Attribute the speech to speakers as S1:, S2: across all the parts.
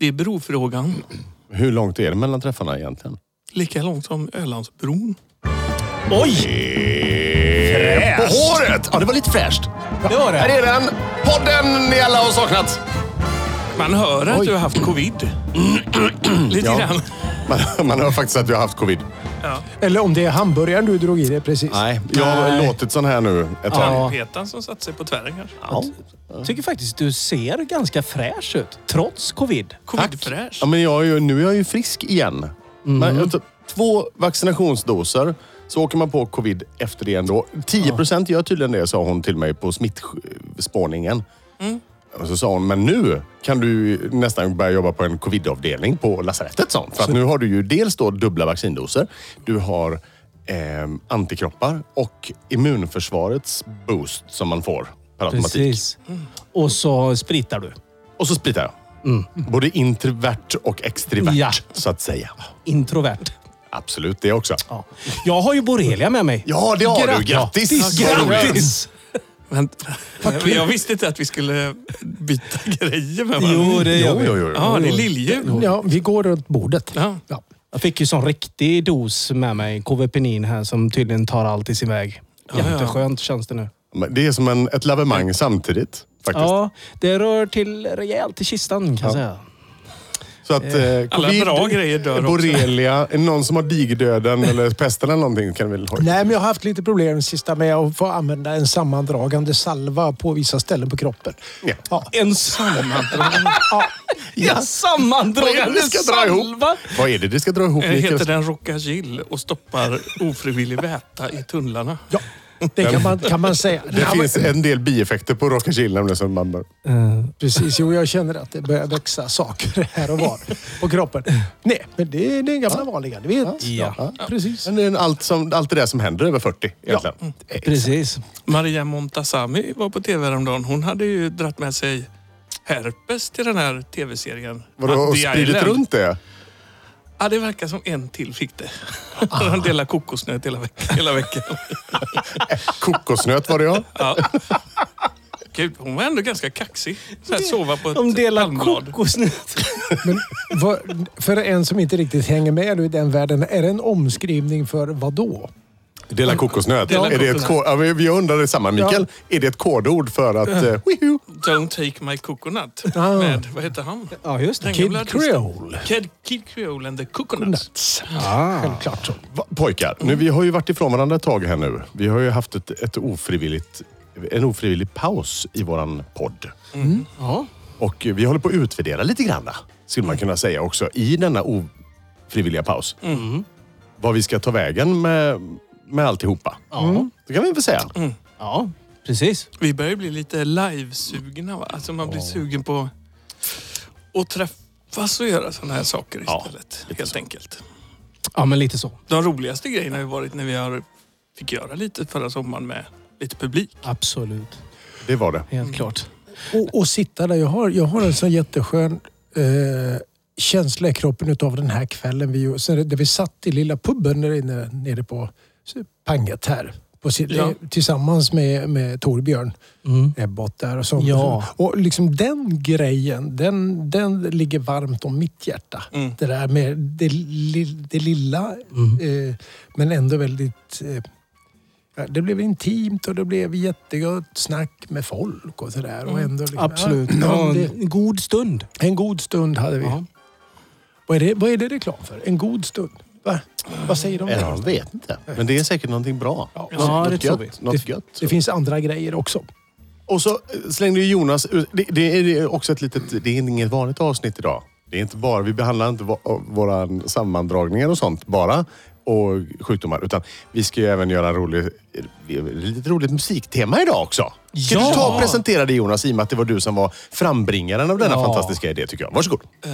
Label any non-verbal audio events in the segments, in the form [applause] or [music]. S1: Det är brofrågan.
S2: Hur långt är det mellan träffarna egentligen?
S1: Lika långt som Ölandsbron.
S3: Oj!
S2: På håret! Ja, det var lite fräscht.
S3: Det var
S2: Här
S3: det.
S2: är den! Podden ni alla har saknat.
S1: Man hör att
S2: Oj.
S1: du har haft
S2: [clears throat]
S1: covid. Lite
S2: Ja.
S1: grann.
S2: Man, [laughs] man hör faktiskt att jag har haft covid.
S3: Eller om det är hamburgaren du drog i dig precis.
S2: Nej, jag har
S3: Nej.
S2: låtit sån här nu ett tag.
S3: Ja.
S1: Petan som satte sig på tvären kanske.
S3: Ja. Tycker faktiskt du ser ganska fräsch ut. Trots covid.
S1: Covidfräsch.
S2: Ja, men jag är ju, nu är jag ju frisk igen. Men, jag tar två vaccinationsdoser, så åker man på covid efter det ändå. 10 procent gör tydligen det, sa hon till mig på smittspårningen. Och så sa hon, men nu kan du nästan börja jobba på en covidavdelning på lasarettet, sa hon. För att nu har du ju dels då dubbla vaccindoser, du har ehm, antikroppar och immunförsvarets boost som man får per automatik.
S3: Precis. Och så spritar du.
S2: Och så spritar jag. Både introvert och extrovert,
S3: Ja.
S2: så att säga.
S3: Introvert.
S2: Absolut, det också.
S3: Ja. Jag har ju borrelia med mig.
S2: Ja, det har du. Grattis!
S3: Ja,
S2: Vad roligt.
S3: Grattis!
S1: Vänta. Jag visste inte att vi skulle byta [laughs] grejer med varandra.
S3: Jo, det gör
S2: Jo,
S3: vi.
S2: jo, jo. jo.
S1: Ja, det är lilljul.
S4: Ja, vi går runt bordet.
S1: Ja.
S4: Ja.
S3: Jag fick ju sån riktig dos med mig. Kovepenin här som tydligen tar allt i sin väg.
S1: ja.
S3: Jätteskönt känns det nu.
S2: Men Det är som en, ett lavemang samtidigt. Faktiskt.
S3: Ja, det rör till rejält i kistan kan jag säga.
S2: Så att, eh,
S1: Alla bra grejer dör också.
S2: Borrelia, är det någon som har digdöden eller pesten eller någonting kan vi väl ha.
S4: Nej, men jag har haft lite problem sista med att få använda en sammandragande salva på vissa ställen på kroppen.
S2: Ja.
S3: En sammandragande...
S4: Ja,
S3: [laughs] ja, sammandragande
S2: Ska dra ihop.
S3: salva!
S2: Vad är det det ska dra ihop?
S1: Eh,
S2: Mikael?
S1: Heter den Rockagill och stoppar ofrivillig väta i tunnlarna.
S4: ja. det kan man, kan man säga.
S2: Det
S4: Ja,
S2: finns en del bieffekter på Rockagill nämligen som man bör...
S4: Precis, jo jag känner att det börjar växa saker här och var på kroppen. Nej, men det är den gamla vanliga, du vet.
S3: Ja.
S4: precis.
S2: Men det är en- Allt, som, allt det där som händer över 40 egentligen.
S3: Precis.
S1: Maria Montazami var på tv häromdagen. Hon hade ju dratt med sig herpes till den här tv-serien.
S2: Vadå,
S1: At
S2: och
S1: the
S2: spridit
S1: Island.
S2: runt det?
S1: Ja, det verkar som en till fick det. [laughs]
S2: Ah.
S1: De delar kokosnöt hela, veck- [laughs] hela veckan.
S2: Kokosnöt var det ja.
S1: Ja. Gud, hon var ändå ganska kaxig. Så här, sova på ett
S3: De delar
S1: palmblad.
S3: kokosnöt.
S4: Men vad, för en som inte riktigt hänger med nu i den världen, är det en omskrivning för vad då?
S2: Dela kokosnöt.
S1: Dela
S2: är det ett
S1: kokosnöt.
S2: ko- ja, vi- vi undrar detsamma Mikael. Är det ett kodord för att... Eh, wihu?
S1: Don't take my coconut.
S4: Ah.
S1: Med, vad heter han?
S3: [laughs] Ja, just det.
S1: Den gamla
S4: Kid
S1: artisten.
S4: Creole.
S1: Kid, Kid Creole and the Coconuts.
S3: Ah.
S4: Självklart så.
S2: Va, pojkar, nu, vi har ju varit ifrån varandra ett tag här nu. Vi har ju haft ett, ett ofrivilligt, en ofrivillig paus i våran podd.
S3: Ja.
S2: Och eh, vi håller på att utvärdera lite grann, va? skulle man kunna säga också, i denna ofrivilliga paus. Vad vi ska ta vägen med, med alltihopa. Mm. Det kan vi väl säga.
S3: ja, precis.
S1: Vi börjar ju bli lite livesugna. Va? Alltså man blir sugen på att träffas och göra sådana här saker
S2: Ja,
S1: istället.
S2: lite
S1: helt
S2: så.
S1: enkelt.
S3: Ja, men lite så.
S1: De roligaste grejerna har ju varit när vi har fick göra lite förra sommaren med lite publik.
S3: Absolut.
S2: Det var det.
S3: Helt klart.
S4: Och, och sitta där. Jag har, jag har en sån jätteskön eh, känsla i kroppen utav den här kvällen. Vi, sen, där vi satt i lilla puben där inne, nere på Panget här. På, sitt-
S1: Ja.
S4: eh, Tillsammans med, med Torbjörn Ebbot där. Och, så.
S3: Ja.
S4: och liksom den grejen, den, den ligger varmt om mitt hjärta. Det där med det, li, det lilla eh, men ändå väldigt eh, Ja, Det blev intimt och det blev jättegott snack med folk och sådär. Och ändå liksom,
S3: Absolut.
S4: Ja,
S3: Ja,
S4: det,
S3: en god stund.
S4: en god stund hade vi.
S3: Ja.
S4: Vad, är det, vad är det reklam för? En god stund? Va? Vad säger de?
S2: Jag
S4: där?
S2: vet inte. Men det är säkert någonting bra.
S4: Ja,
S3: Ja,
S2: något
S3: det tror
S2: gött,
S3: vi.
S2: Något gött.
S4: Det finns andra grejer också.
S2: Och så eh, slängde ju Jonas ut- det, det är ju också ett litet... Det är inget vanligt avsnitt idag. Det är inte bara... Vi behandlar inte va- våra sammandragningar och sånt bara. Och sjukdomar. Utan vi ska ju även göra en rolig, eh, lite roligt musiktema idag också. Kan
S3: Ja!
S2: du ta och presentera det Jonas? I och med att det var du som var frambringaren av denna
S3: Ja.
S2: fantastiska idé tycker jag. Varsågod.
S1: Eh,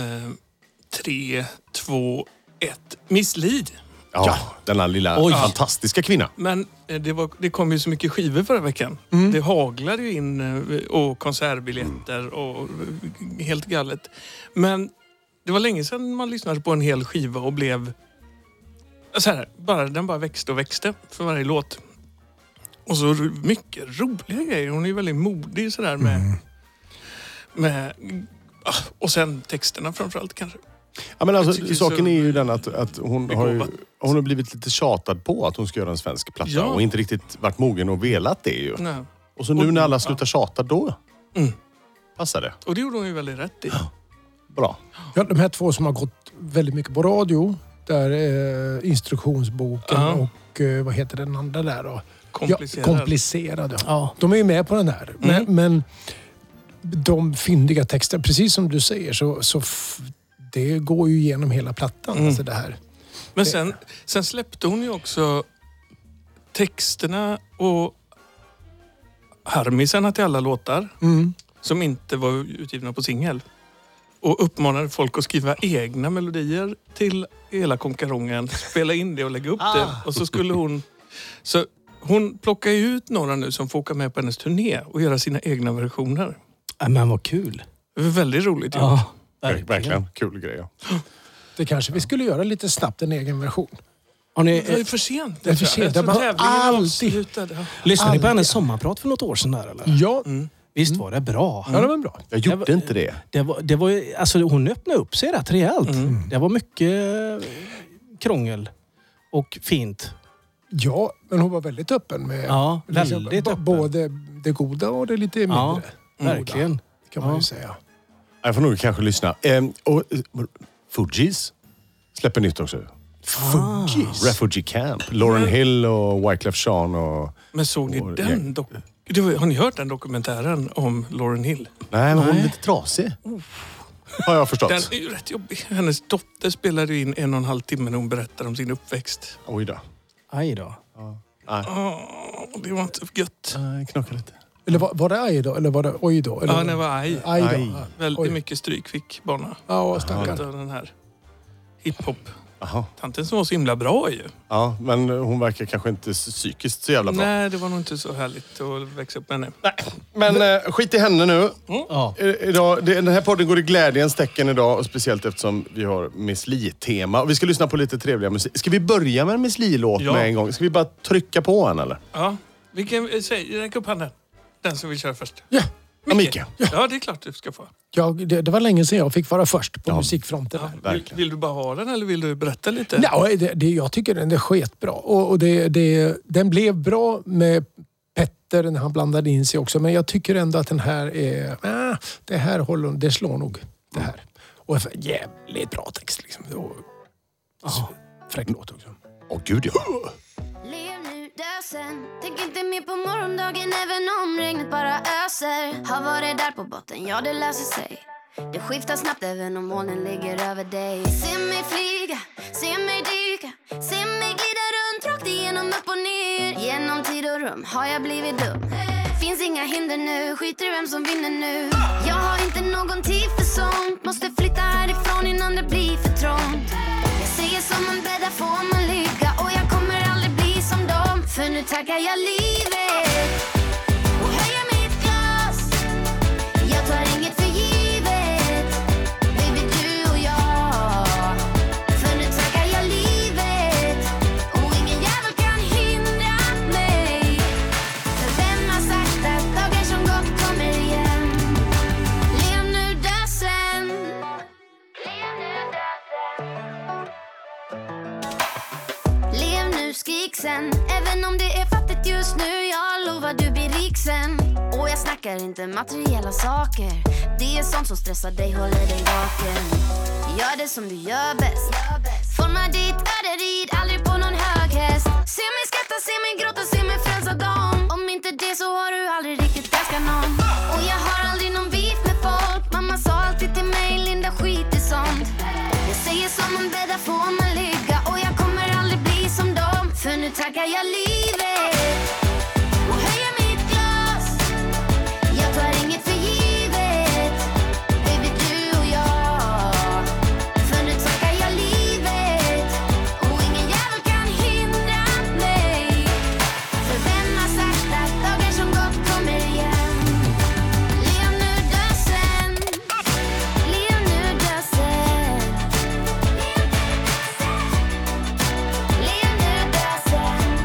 S1: tre, två, ett. Miss Li.
S2: Ja, Denna lilla
S3: Oj.
S2: fantastiska kvinna.
S1: Men eh, det, var, det kom ju så mycket skivor förra veckan. Det haglade ju in eh, och konsertbiljetter och eh, helt galet. Men det var länge sedan man lyssnade på en hel skiva och blev... Så här, bara, den bara växte och växte för varje låt. Och så ro- mycket roliga grejer. Hon är ju väldigt modig sådär med... med Ah, Och sen texterna framförallt kanske.
S2: Ja, men
S1: Jag tycker
S2: alltså, saken
S1: så-
S2: är ju den att, att hon, har ju,
S1: Begåvat.
S2: hon har blivit lite tjatad på att hon ska göra en svensk platta
S1: Ja.
S2: och inte riktigt varit mogen och velat det ju.
S1: Nej.
S2: Och så nu
S1: Och-
S2: när alla
S1: ja.
S2: slutar tjata, då
S1: Mm.
S2: passar det.
S1: Och det gjorde hon ju väldigt rätt i.
S2: Bra.
S4: Ja, de här två som har gått väldigt mycket på radio. Där eh, instruktionsboken
S1: Ja.
S4: och eh, vad heter den andra där då?
S1: Komplicerad.
S4: Ja, komplicerade.
S3: Ja.
S4: De är ju med på den här. Men,
S1: Mm.
S4: men de fyndiga texterna, precis som du säger, så, så f- det går ju igenom hela plattan.
S1: Mm.
S4: Alltså det här.
S1: Men sen, sen släppte hon ju också texterna och harmisarna till alla låtar
S4: Mm.
S1: som inte var utgivna på singel. Och uppmanade folk att skriva egna melodier till hela konkarongen. Spela in det och lägga upp det.
S4: Ah.
S1: Och så skulle hon... Så hon plockar ju ut några nu som får åka med på hennes turné och göra sina egna versioner.
S3: Ja, Äh, Men vad kul.
S1: Det var väldigt roligt. Ja.
S3: Ja,
S2: Verkligen. Kul grej. ja.
S4: Det kanske vi skulle göra lite snabbt, en egen version.
S3: Har ni,
S1: Det var ju
S3: eh,
S1: för sent.
S4: Det är för
S1: tror jag.
S4: sent.
S1: Jag tror
S4: Man har
S1: tävlingen var
S4: alltid-
S1: avslutad. Ja.
S3: lyssnade ni på hennes sommarprat för något år sedan? Där, eller?
S4: Ja,
S1: Mm.
S3: Visst var det bra?
S4: ja det var bra.
S2: Jag gjorde
S3: Jag var-
S2: inte det.
S3: Det var, det var, ju- alltså, hon öppnade upp sig rätt rejält. Det var mycket eh, krångel och fint.
S4: Ja, men hon var väldigt öppen med
S3: Ja,
S4: liksom,
S3: väldigt
S4: b-
S3: öppen.
S4: både det goda och det lite mindre.
S3: Ja, Mm.
S4: goda,
S3: verkligen.
S4: Kan man
S3: Ja.
S4: ju säga.
S2: Jag får nog kanske lyssna. Ehm, och, eh, Fugees släpper nytt också. Ah.
S4: Fugees.
S2: Refugee Camp. Lauren Hill och Wyclef Jean och...
S1: Men såg ni
S2: Och-
S1: den dok- det var, Har ni hört den dokumentären om Lauren Hill?
S2: Nej, men hon är lite trasig. Har jag förstått.
S1: Den är ju rätt jobbig. Hennes dotter spelade ju in en och en halv timme när hon berättar om sin uppväxt.
S2: Oj då.
S3: Aj då.
S1: Åh, det var inte gött.
S2: Nej, knakar lite.
S4: Eller var, var det aj då? Eller var det oj då? Eller,
S1: Ja, den var arg.
S4: Aj då.
S2: Aj.
S4: Ja,
S1: Väldigt
S4: oj.
S1: mycket stryk fick barna.
S4: Ja,
S1: Utav
S4: stackarn.
S1: den här hiphop-tanten
S2: Jaha.
S1: som var så himla bra ju.
S2: Ja, men hon verkar kanske inte s- psykiskt så jävla bra.
S1: Nej, det var nog inte så härligt att växa upp med henne.
S2: Men eh, skit i henne nu.
S3: Ja.
S2: I- Eh, Idag, det- den här podden går i glädjens tecken idag, och speciellt eftersom vi har Miss Li-tema. Och Vi ska lyssna på lite trevliga musik. Ska vi börja med en Miss Li-låt
S1: Ja.
S2: med en gång? Ska vi bara trycka på en eller?
S1: Ja, vilken... eh, Säg, räck upp handen. Den som vill köra först.
S4: Ja,
S2: Ja, Micke.
S1: Ja, det är klart du ska få.
S4: jag, det, det var länge sedan jag fick vara först på musikfronten. här.
S1: Vill,
S2: Verkligen.
S1: vill du bara ha den eller vill du berätta lite?
S4: Nej, det, det, jag tycker den är sketbra. Och, och det, det, den blev bra med Petter när han blandade in sig också. Men jag tycker ändå att den här är... Ah, det här håller, det slår nog. Det här. Och för- jävligt bra text liksom. Och, ja, fräck låt också.
S2: Åh gud ja.
S5: Lev nu, dö sen Tänk inte mer på morgondagen även om regnet bara öser Har varit där på botten, ja det löser sig Det skiftar snabbt även om molnen ligger över dig Se mig flyga, se mig dyka Se mig glida runt rakt igenom upp och ner Genom tid och rum har jag blivit dum Finns inga hinder nu, skiter i vem som vinner nu Jag har inte någon tid för sånt Måste flytta härifrån innan det blir för trångt jag säger som man bäddar får man ligga Och jag kommer aldrig bli som dem För nu tackar jag livet Och höjer mitt glas Jag tar inget för givet Baby du och jag För nu tackar jag livet Och ingen jävel kan hindra mig För vem har sagt att dagar som gått kommer igen Lev nu, dö sen Lev nu, skrik sen Även om det är fattigt just nu Jag lovar du blir rik sen Och jag snackar inte materiella saker Det är sånt som stressar dig, håller dig vaken Gör det som du gör bäst Forma ditt öde, rid aldrig på någon hög häst Se mig skratta, se mig gråta, se mig frälsa dem Om inte det så har du aldrig riktigt älskat någon Och jag har aldrig någon beef med folk Mamma sa alltid till mig, Linda skit i sånt Jag säger som man bäddar får man ligga Och jag kommer aldrig bli som dem För nu tackar jag livet Och höjer mitt glas Jag tar inget för givet Baby du och jag För nu tackar jag livet Och ingen jävel kan hindra mig för vem har sagt att dagar som gått kommer igen? Lev nu, dö sen. Lev nu, dö sen. Lev nu, dö sen.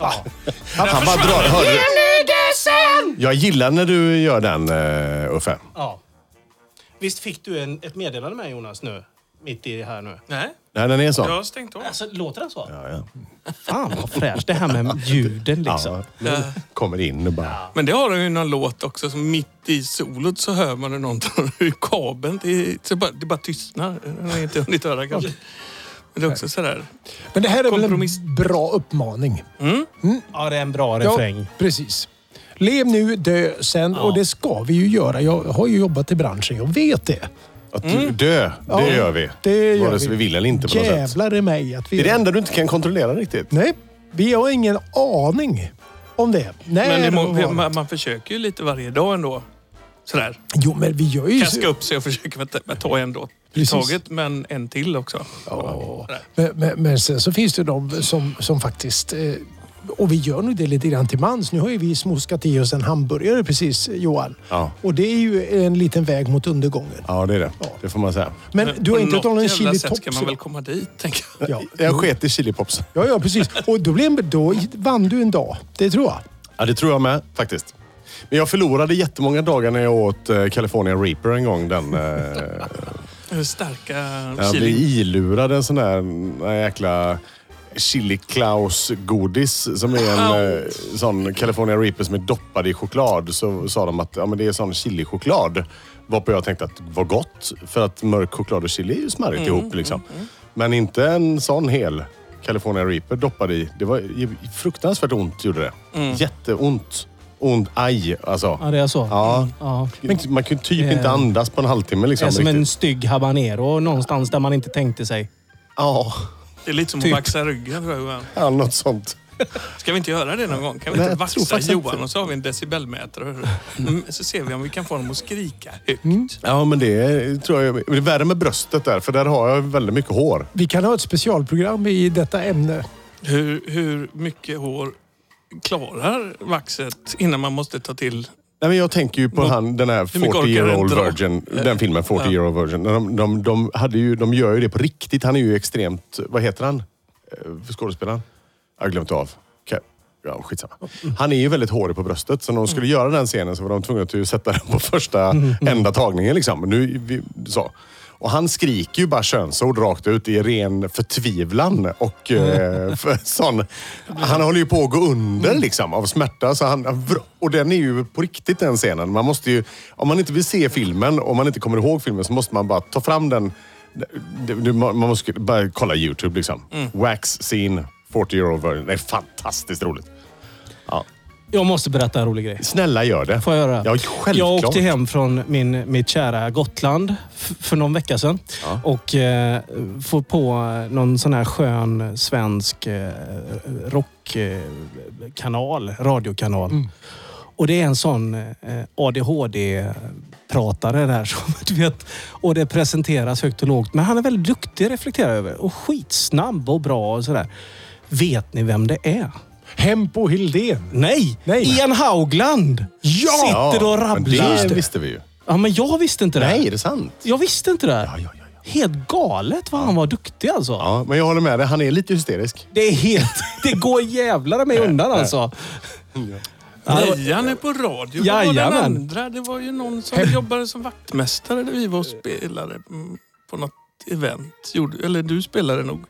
S2: Han bara drar. Hör du? Jag gillar när du gör den, eh, Uffe.
S3: Ja. Visst fick du en, ett meddelande med Jonas nu? Mitt i här nu.
S1: Nej,
S2: Nej, den är
S1: jag
S2: så.
S1: har stängt av.
S3: Alltså, låter den så?
S2: Ja, ja.
S3: Fan vad fräscht. Det här [laughs] med ljuden liksom.
S2: Ja, den kommer in och bara...
S1: Men det har de ju i någon låt också. Som mitt i solot så hör man hur någon tar [laughs] ur kabeln. Det, är- så bara, det bara tystnar. Man har inte hunnit höra kanske. Men det är också sådär.
S4: Men det här är
S1: Kompromiss.
S4: väl en bra uppmaning?
S3: Ja, det är en bra
S4: Ja,
S3: refräng.
S4: precis. Lev nu, dö sen. Och det ska vi ju göra. Jag har ju jobbat i branschen, jag vet det.
S2: Att du, dö,
S4: Mm. Ja,
S2: det gör vi.
S4: Det gör
S2: Vare sig vi vill eller inte på något sätt.
S4: Jävlar i mig att vi...
S2: Det är det enda du inte kan kontrollera riktigt.
S4: Nej, vi har ingen aning om det. Nej,
S1: Men det må,
S4: och var-
S1: man, man försöker ju lite varje dag ändå. Sådär.
S4: Jo, men vi gör ju...
S1: Kaska upp sig och försöka med, med ta en då. i
S4: Precis.
S1: Taget, men en till också.
S4: Ja. Men, men, men sen så finns det de som, som faktiskt... eh, Och vi gör nog det lite grann till mans. Nu har ju vi smuskat i oss en hamburgare precis, Johan.
S2: Ja.
S4: Och det är ju en liten väg mot undergången.
S2: Ja, det är det. Det får man säga.
S4: Men du har
S1: På
S4: inte hört om
S1: något
S4: någon
S1: jävla
S4: chili
S1: sätt
S4: tops?
S1: ska man väl komma dit, tänker jag.
S4: ja.
S2: Jag sket i chilipops.
S4: ja, ja, precis. Och då, blev, då vann du en dag. Det tror jag.
S2: Ja, det tror jag med faktiskt. Men jag förlorade jättemånga dagar när jag åt eh, California Reaper en gång. Den, eh,
S1: Hur starka
S2: jag blev
S1: chili...
S2: ilurad en sån där en jäkla Chili Klaus godis som är en eh, sån California Reaper som är doppad i choklad. Så sa de att ja, men det är sån chilichoklad. Varpå jag tänkte att det var gott. För att mörk choklad och chili är ju smarrigt
S3: Mm,
S2: ihop liksom. Men inte en sån hel California Reaper doppad i. Det var ju fruktansvärt ont gjorde det. Jätteont. Ont. Aj alltså.
S3: Mm. Ja, det är så.
S2: Ja.
S3: Ja.
S2: Man kan ju typ
S3: Eh,
S2: inte andas på en halvtimme
S3: Det
S2: liksom.
S3: är som en
S2: riktigt.
S3: stygg habanero någonstans där man inte tänkte sig.
S2: Ja,
S1: Det är lite som
S3: Typ.
S1: att vaxa ryggen. tror jag, Johan.
S2: ja, något sånt.
S1: Ska vi inte göra det någon gång? Kan vi
S2: Nej,
S1: inte
S2: jag tror
S1: vaxa
S2: faktiskt
S1: Johan
S2: inte.
S1: och så har vi en decibelmätare? Mm, Så ser vi om vi kan få honom att skrika högt.
S3: Mm.
S2: Ja, men det är- tror jag. Det är värre med bröstet där, för där har jag väldigt mycket hår.
S4: Vi kan ha ett specialprogram i detta ämne.
S1: Hur, hur mycket hår klarar vaxet innan man måste ta till...
S2: Nej, men jag tänker ju på
S1: Nå-
S2: han, den här
S1: Hur mycket orkar
S2: 40 year old
S1: den dra?
S2: virgin. Den filmen, 40 year old virgin. De, de, de, hade ju, de gör ju det på riktigt. Han är ju extremt... Vad heter han? Eh, Skådespelaren? Jag har glömt av. Ka- Ja, skitsamma. Han är ju väldigt hårig på bröstet. Så när de skulle
S1: Mm.
S2: göra den scenen så var de tvungna att ju sätta den på första enda tagningen. Liksom. Nu, vi, så. Och han skriker ju bara könsord rakt ut i ren förtvivlan. Och, eh,
S3: Mm.
S2: för sån, han håller ju på att gå under liksom, av smärta. Så han, han vr- och den är ju på riktigt den scenen. Man måste ju, om man inte vill se filmen, om man inte kommer ihåg filmen, så måste man bara ta fram den. Det- det- Man man måste bara kolla YouTube. Liksom.
S3: Mm.
S2: Wax scene, 40 year old version. Det är fantastiskt roligt.
S3: Jag måste berätta en rolig grej.
S2: Snälla gör det.
S3: Får jag göra?
S2: Ja, självklart.
S3: Jag åkte hem från min, mitt kära Gotland f- för någon vecka sedan. Och eh, får på någon sån här skön svensk eh, rockkanal, radiokanal.
S2: Mm.
S3: Och det är en sån eh, ADHD-pratare där [laughs] som du vet. Och det presenteras högt och lågt. Men han är väldigt duktig reflekterar jag över. Och skitsnabb och bra och sådär. Vet ni vem det är?
S4: Hempo Hildén.
S3: Nej!
S4: Nej.
S3: Ian Haugland!
S2: Ja,
S3: Sitter och
S2: men Det
S3: rabblar.
S2: visste vi ju.
S3: Ja, men jag visste inte det. här.
S2: Nej, är det sant?
S3: Jag visste inte det. här.
S2: Ja, ja, ja, ja.
S3: Helt galet vad han var duktig alltså.
S2: Ja, men jag håller med dig. Han är lite hysterisk.
S3: Det är helt... Det går jävlar mig undan alltså.
S1: Lejan är på radio. Vad var den
S3: Jajamän.
S1: andra? Det var ju någon som jobbade som vaktmästare där vi var och spelade mm, på något event. Gjorde- Eller du spelade nog.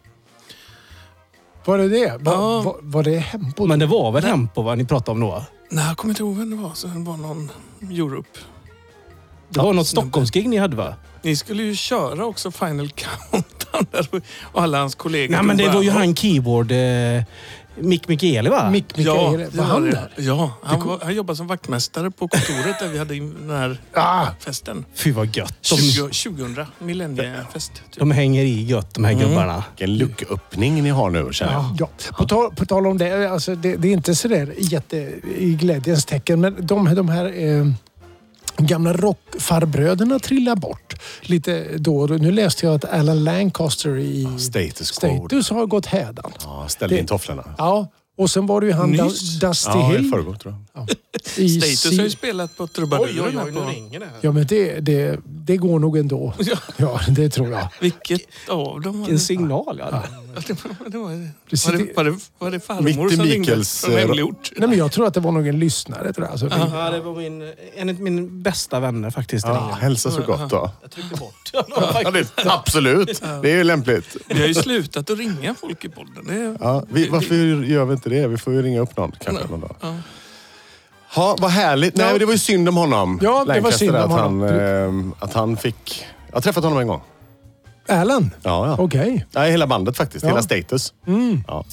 S4: Var det det? Var,
S1: Ja.
S4: var, var det Hempo?
S3: Men det var väl Hempo vad ni pratade om då?
S1: Nej, jag kommer inte ihåg vem det var. Så det var någon Europe.
S3: Det var något Stockholmsgig ni hade va?
S1: Ni skulle ju köra också Final Countdown där och alla hans kollegor.
S3: Nej men det
S1: bara-
S3: var ju han keyboard... Eh, Mick Micheli va?
S4: Mick
S1: Ja,
S4: Mikael, var han
S1: det.
S4: där?
S1: Ja, han, var, han jobbade som vaktmästare på kontoret där vi hade in den här
S4: Ah,
S1: festen.
S3: Fy vad gött. De,
S1: 20, 2000, millenniefest. Typ.
S3: de hänger i gött de här gubbarna.
S2: Vilken lucköppning ni har nu, känner jag.
S4: Ja, på tal, på tal om det, alltså det, det är inte sådär jätte i glädjens tecken, men de, de här eh, gamla rockfarbröderna trillar bort lite då och då. Nu läste jag att Alan Lancaster i
S2: Status quo.
S4: Status har gått hädan.
S2: Ja, ställ
S4: Det-
S2: in tofflorna.
S4: Ja, och sen var det ju han da,
S1: Nyss.
S4: Dusty
S2: Ja, i
S4: Hill.
S2: förrgår tror jag.
S4: i
S1: Status har ju
S4: Sea-
S1: spelat på trubadurerna. på-
S3: ringer det.
S4: Ja, men det, det, det går nog ändå.
S1: Ja.
S4: Ja, det tror jag.
S1: Vilket av dem var
S3: Vilken
S1: det?
S3: signal jag hade.
S1: Var det, var
S4: Du
S1: det, var
S4: sitter-
S1: det, var det, var det
S2: Mitt i
S1: farmor som ringde
S2: Mikkels,
S1: från
S2: eh,
S1: hemlig ort?
S4: Nej, men jag tror att det var nog en lyssnare. Tror jag. Alltså,
S3: Ja, det var min, en av mina bästa vänner faktiskt.
S2: Ja, hälsa så gott då.
S3: Jag tryckte
S1: [laughs]
S3: bort
S2: Ja, det, absolut, det är ju lämpligt.
S1: Vi har ju slutat att ringa folk i podden. Det är,
S2: Ja, vi, varför gör vi inte det? Vi får ju ringa upp någon kanske någon dag.
S1: ja.
S2: Ha, vad härligt. Nej,
S4: Ja.
S2: men det var ju synd om honom.
S4: Ja, det var
S2: Lancaster,
S4: synd om
S2: att
S4: honom.
S2: Han, ehm, att han fick... Jag har träffat honom en gång.
S4: Erland?
S2: Ja, ja.
S4: Okej.
S2: Nej, hela bandet faktiskt.
S4: Ja. Mm.
S2: Hela Status. Ja.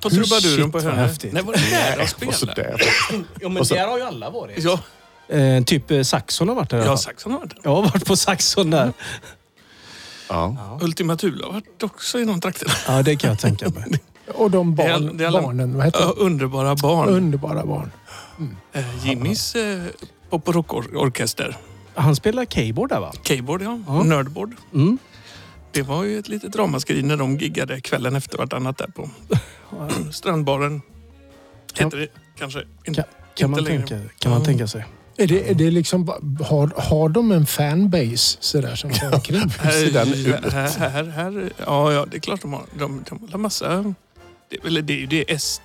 S1: Ta trubaduren på
S3: Shit, vad
S1: hörnet.
S3: häftigt.
S1: Nej, var det där de
S2: Och
S1: spelade?
S2: sådär.
S3: Jo, men
S2: Och så-
S3: där har ju alla varit.
S1: Ja,
S3: Eh, typ eh, Saxon har varit där. i alla
S1: jag har
S3: fall.
S1: sagt som har varit där.
S3: jag har varit på Saxon där.
S2: Ja.
S1: Ultima Thule har varit också i de trakterna.
S3: Ja, det kan jag tänka mig.
S4: Och de
S1: Det är
S4: barn,
S1: all- det är alla-
S4: barnen, vad heter de?
S1: Ja, underbara barn.
S4: Underbara barn.
S1: Eh, Jimmys eh, pop och rockorkester.
S3: [laughs] Han spelar keyboard där va?
S1: Keyboard, ja.
S3: Ja.
S1: Nerdboard.
S3: Mm.
S1: Det var ju ett litet ramaskri när de giggade kvällen efter vartannat där
S3: [laughs]
S1: på Strandbaren. Heter det kanske? Inte,
S3: Kan
S1: inte
S3: man,
S1: längre. Eh,
S3: tänka, kan man
S1: Ja.
S3: tänka sig.
S4: Är det, är det liksom, ba- har, har de en fanbase sådär som går omkring?
S1: Här,
S2: den
S1: här, här, här, ja, ja, det är klart de har. De, de har massa... Det, eller det är ju det är SD.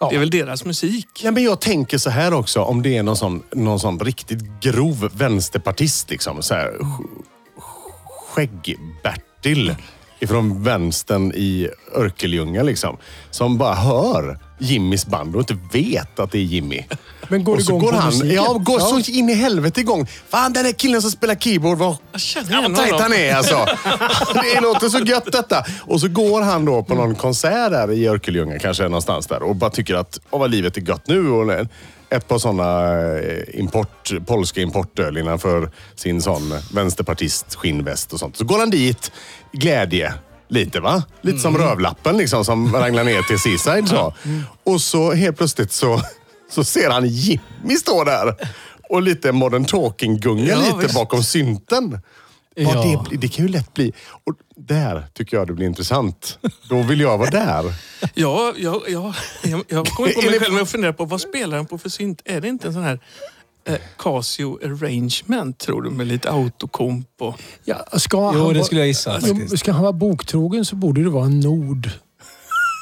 S4: Ja.
S1: Det är väl deras musik.
S2: Ja, men jag tänker så här också, om det är någon sån, någon sån riktigt grov vänsterpartist. Liksom, så här, sk- Skägg-Bertil ifrån vänstern i Örkeljunga. Liksom, som bara hör Jimmys band och inte vet att det är Jimmy.
S4: Men går
S2: och
S4: det
S2: så
S4: igång
S2: går
S4: på
S2: han
S4: musiken?
S2: ja, går så in i helvete igång. Fan, den där killen som spelar keyboard, vad
S1: Jag känner
S2: Ja,
S1: igen
S2: vad tajt
S1: honom.
S2: han är alltså. Det låter så gött detta. Och så går han då på någon konsert där i Örkelljunga kanske någonstans där och bara tycker att åh vad livet är gött nu. Och ett par sådana eh, import, polska importöl innanför sin sån vänsterpartist skinnväst och sånt. Så går han dit, glädje. Lite va? Lite som
S1: Mm.
S2: rövlappen liksom som ranglar ner till Seaside. Så. Och så helt plötsligt så, så ser han Jimmy stå där. Och lite modern talking-gunga
S1: Ja,
S2: lite
S1: visst.
S2: bakom synten. Ja.
S3: Ja.
S2: det, blir- det kan ju lätt bli... Och där tycker jag det blir intressant. Då vill jag
S1: [laughs]
S2: vara där.
S1: Ja, ja, ja, jag, jag kommer på
S4: [laughs]
S2: Är
S1: mig
S2: det-
S1: själv med att fundera på vad spelar han på för synt? Är det inte en sån här eh, Casio Arrangement tror du med lite autokomp och...
S4: Ja, ska
S3: Jo,
S4: han
S3: det
S4: vara-
S3: skulle jag gissa
S4: Jo,
S3: faktiskt.
S4: ska han vara boktrogen så borde det vara en Nord.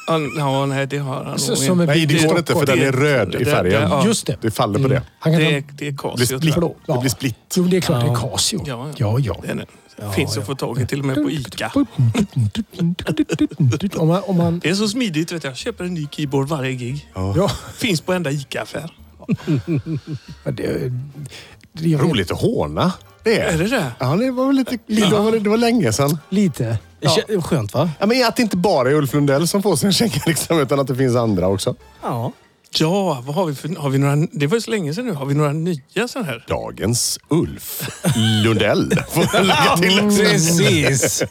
S1: Ja, n- Ja, nej det har han
S4: Så-
S1: nog
S4: som
S1: inte.
S4: en
S2: Nej, det går inte för den är röd i
S1: Det-
S2: färgen.
S1: det- ja.
S4: Just det.
S2: Det faller på det.
S4: Han kan
S1: Det,
S4: det...
S1: är- det är
S2: Det blir
S1: Casio tror
S2: split.
S1: jag.
S2: Det blir split.
S4: Jo, det är klart det är
S3: Ja.
S4: Casio.
S1: Ja,
S4: ja. ja.
S1: Det är det. Finns att få tag i till och med på Ica.
S4: Om man, om man,
S1: Det är så smidigt vet jag. Jag köper en ny keyboard varje gig.
S4: ja,
S1: Finns på enda Ica-affär.
S4: det, det, jag vet-
S2: Roligt att håna. Det är
S1: Är det det?
S2: Ja, det var väl lite... Det var, det var länge sedan.
S4: Lite. Ja.
S3: Kä- Skönt va?
S2: Ja, men att det inte bara är Ulf Lundell som får sin känga, [laughs] liksom, utan att det finns andra också.
S3: Ja.
S1: Ja, vad har vi för... Har vi några, det var ju så länge sedan nu. Har vi några nya sådana här?
S2: Dagens Ulf
S1: [laughs]
S2: Lundell. Får jag lägga till.
S3: Precis.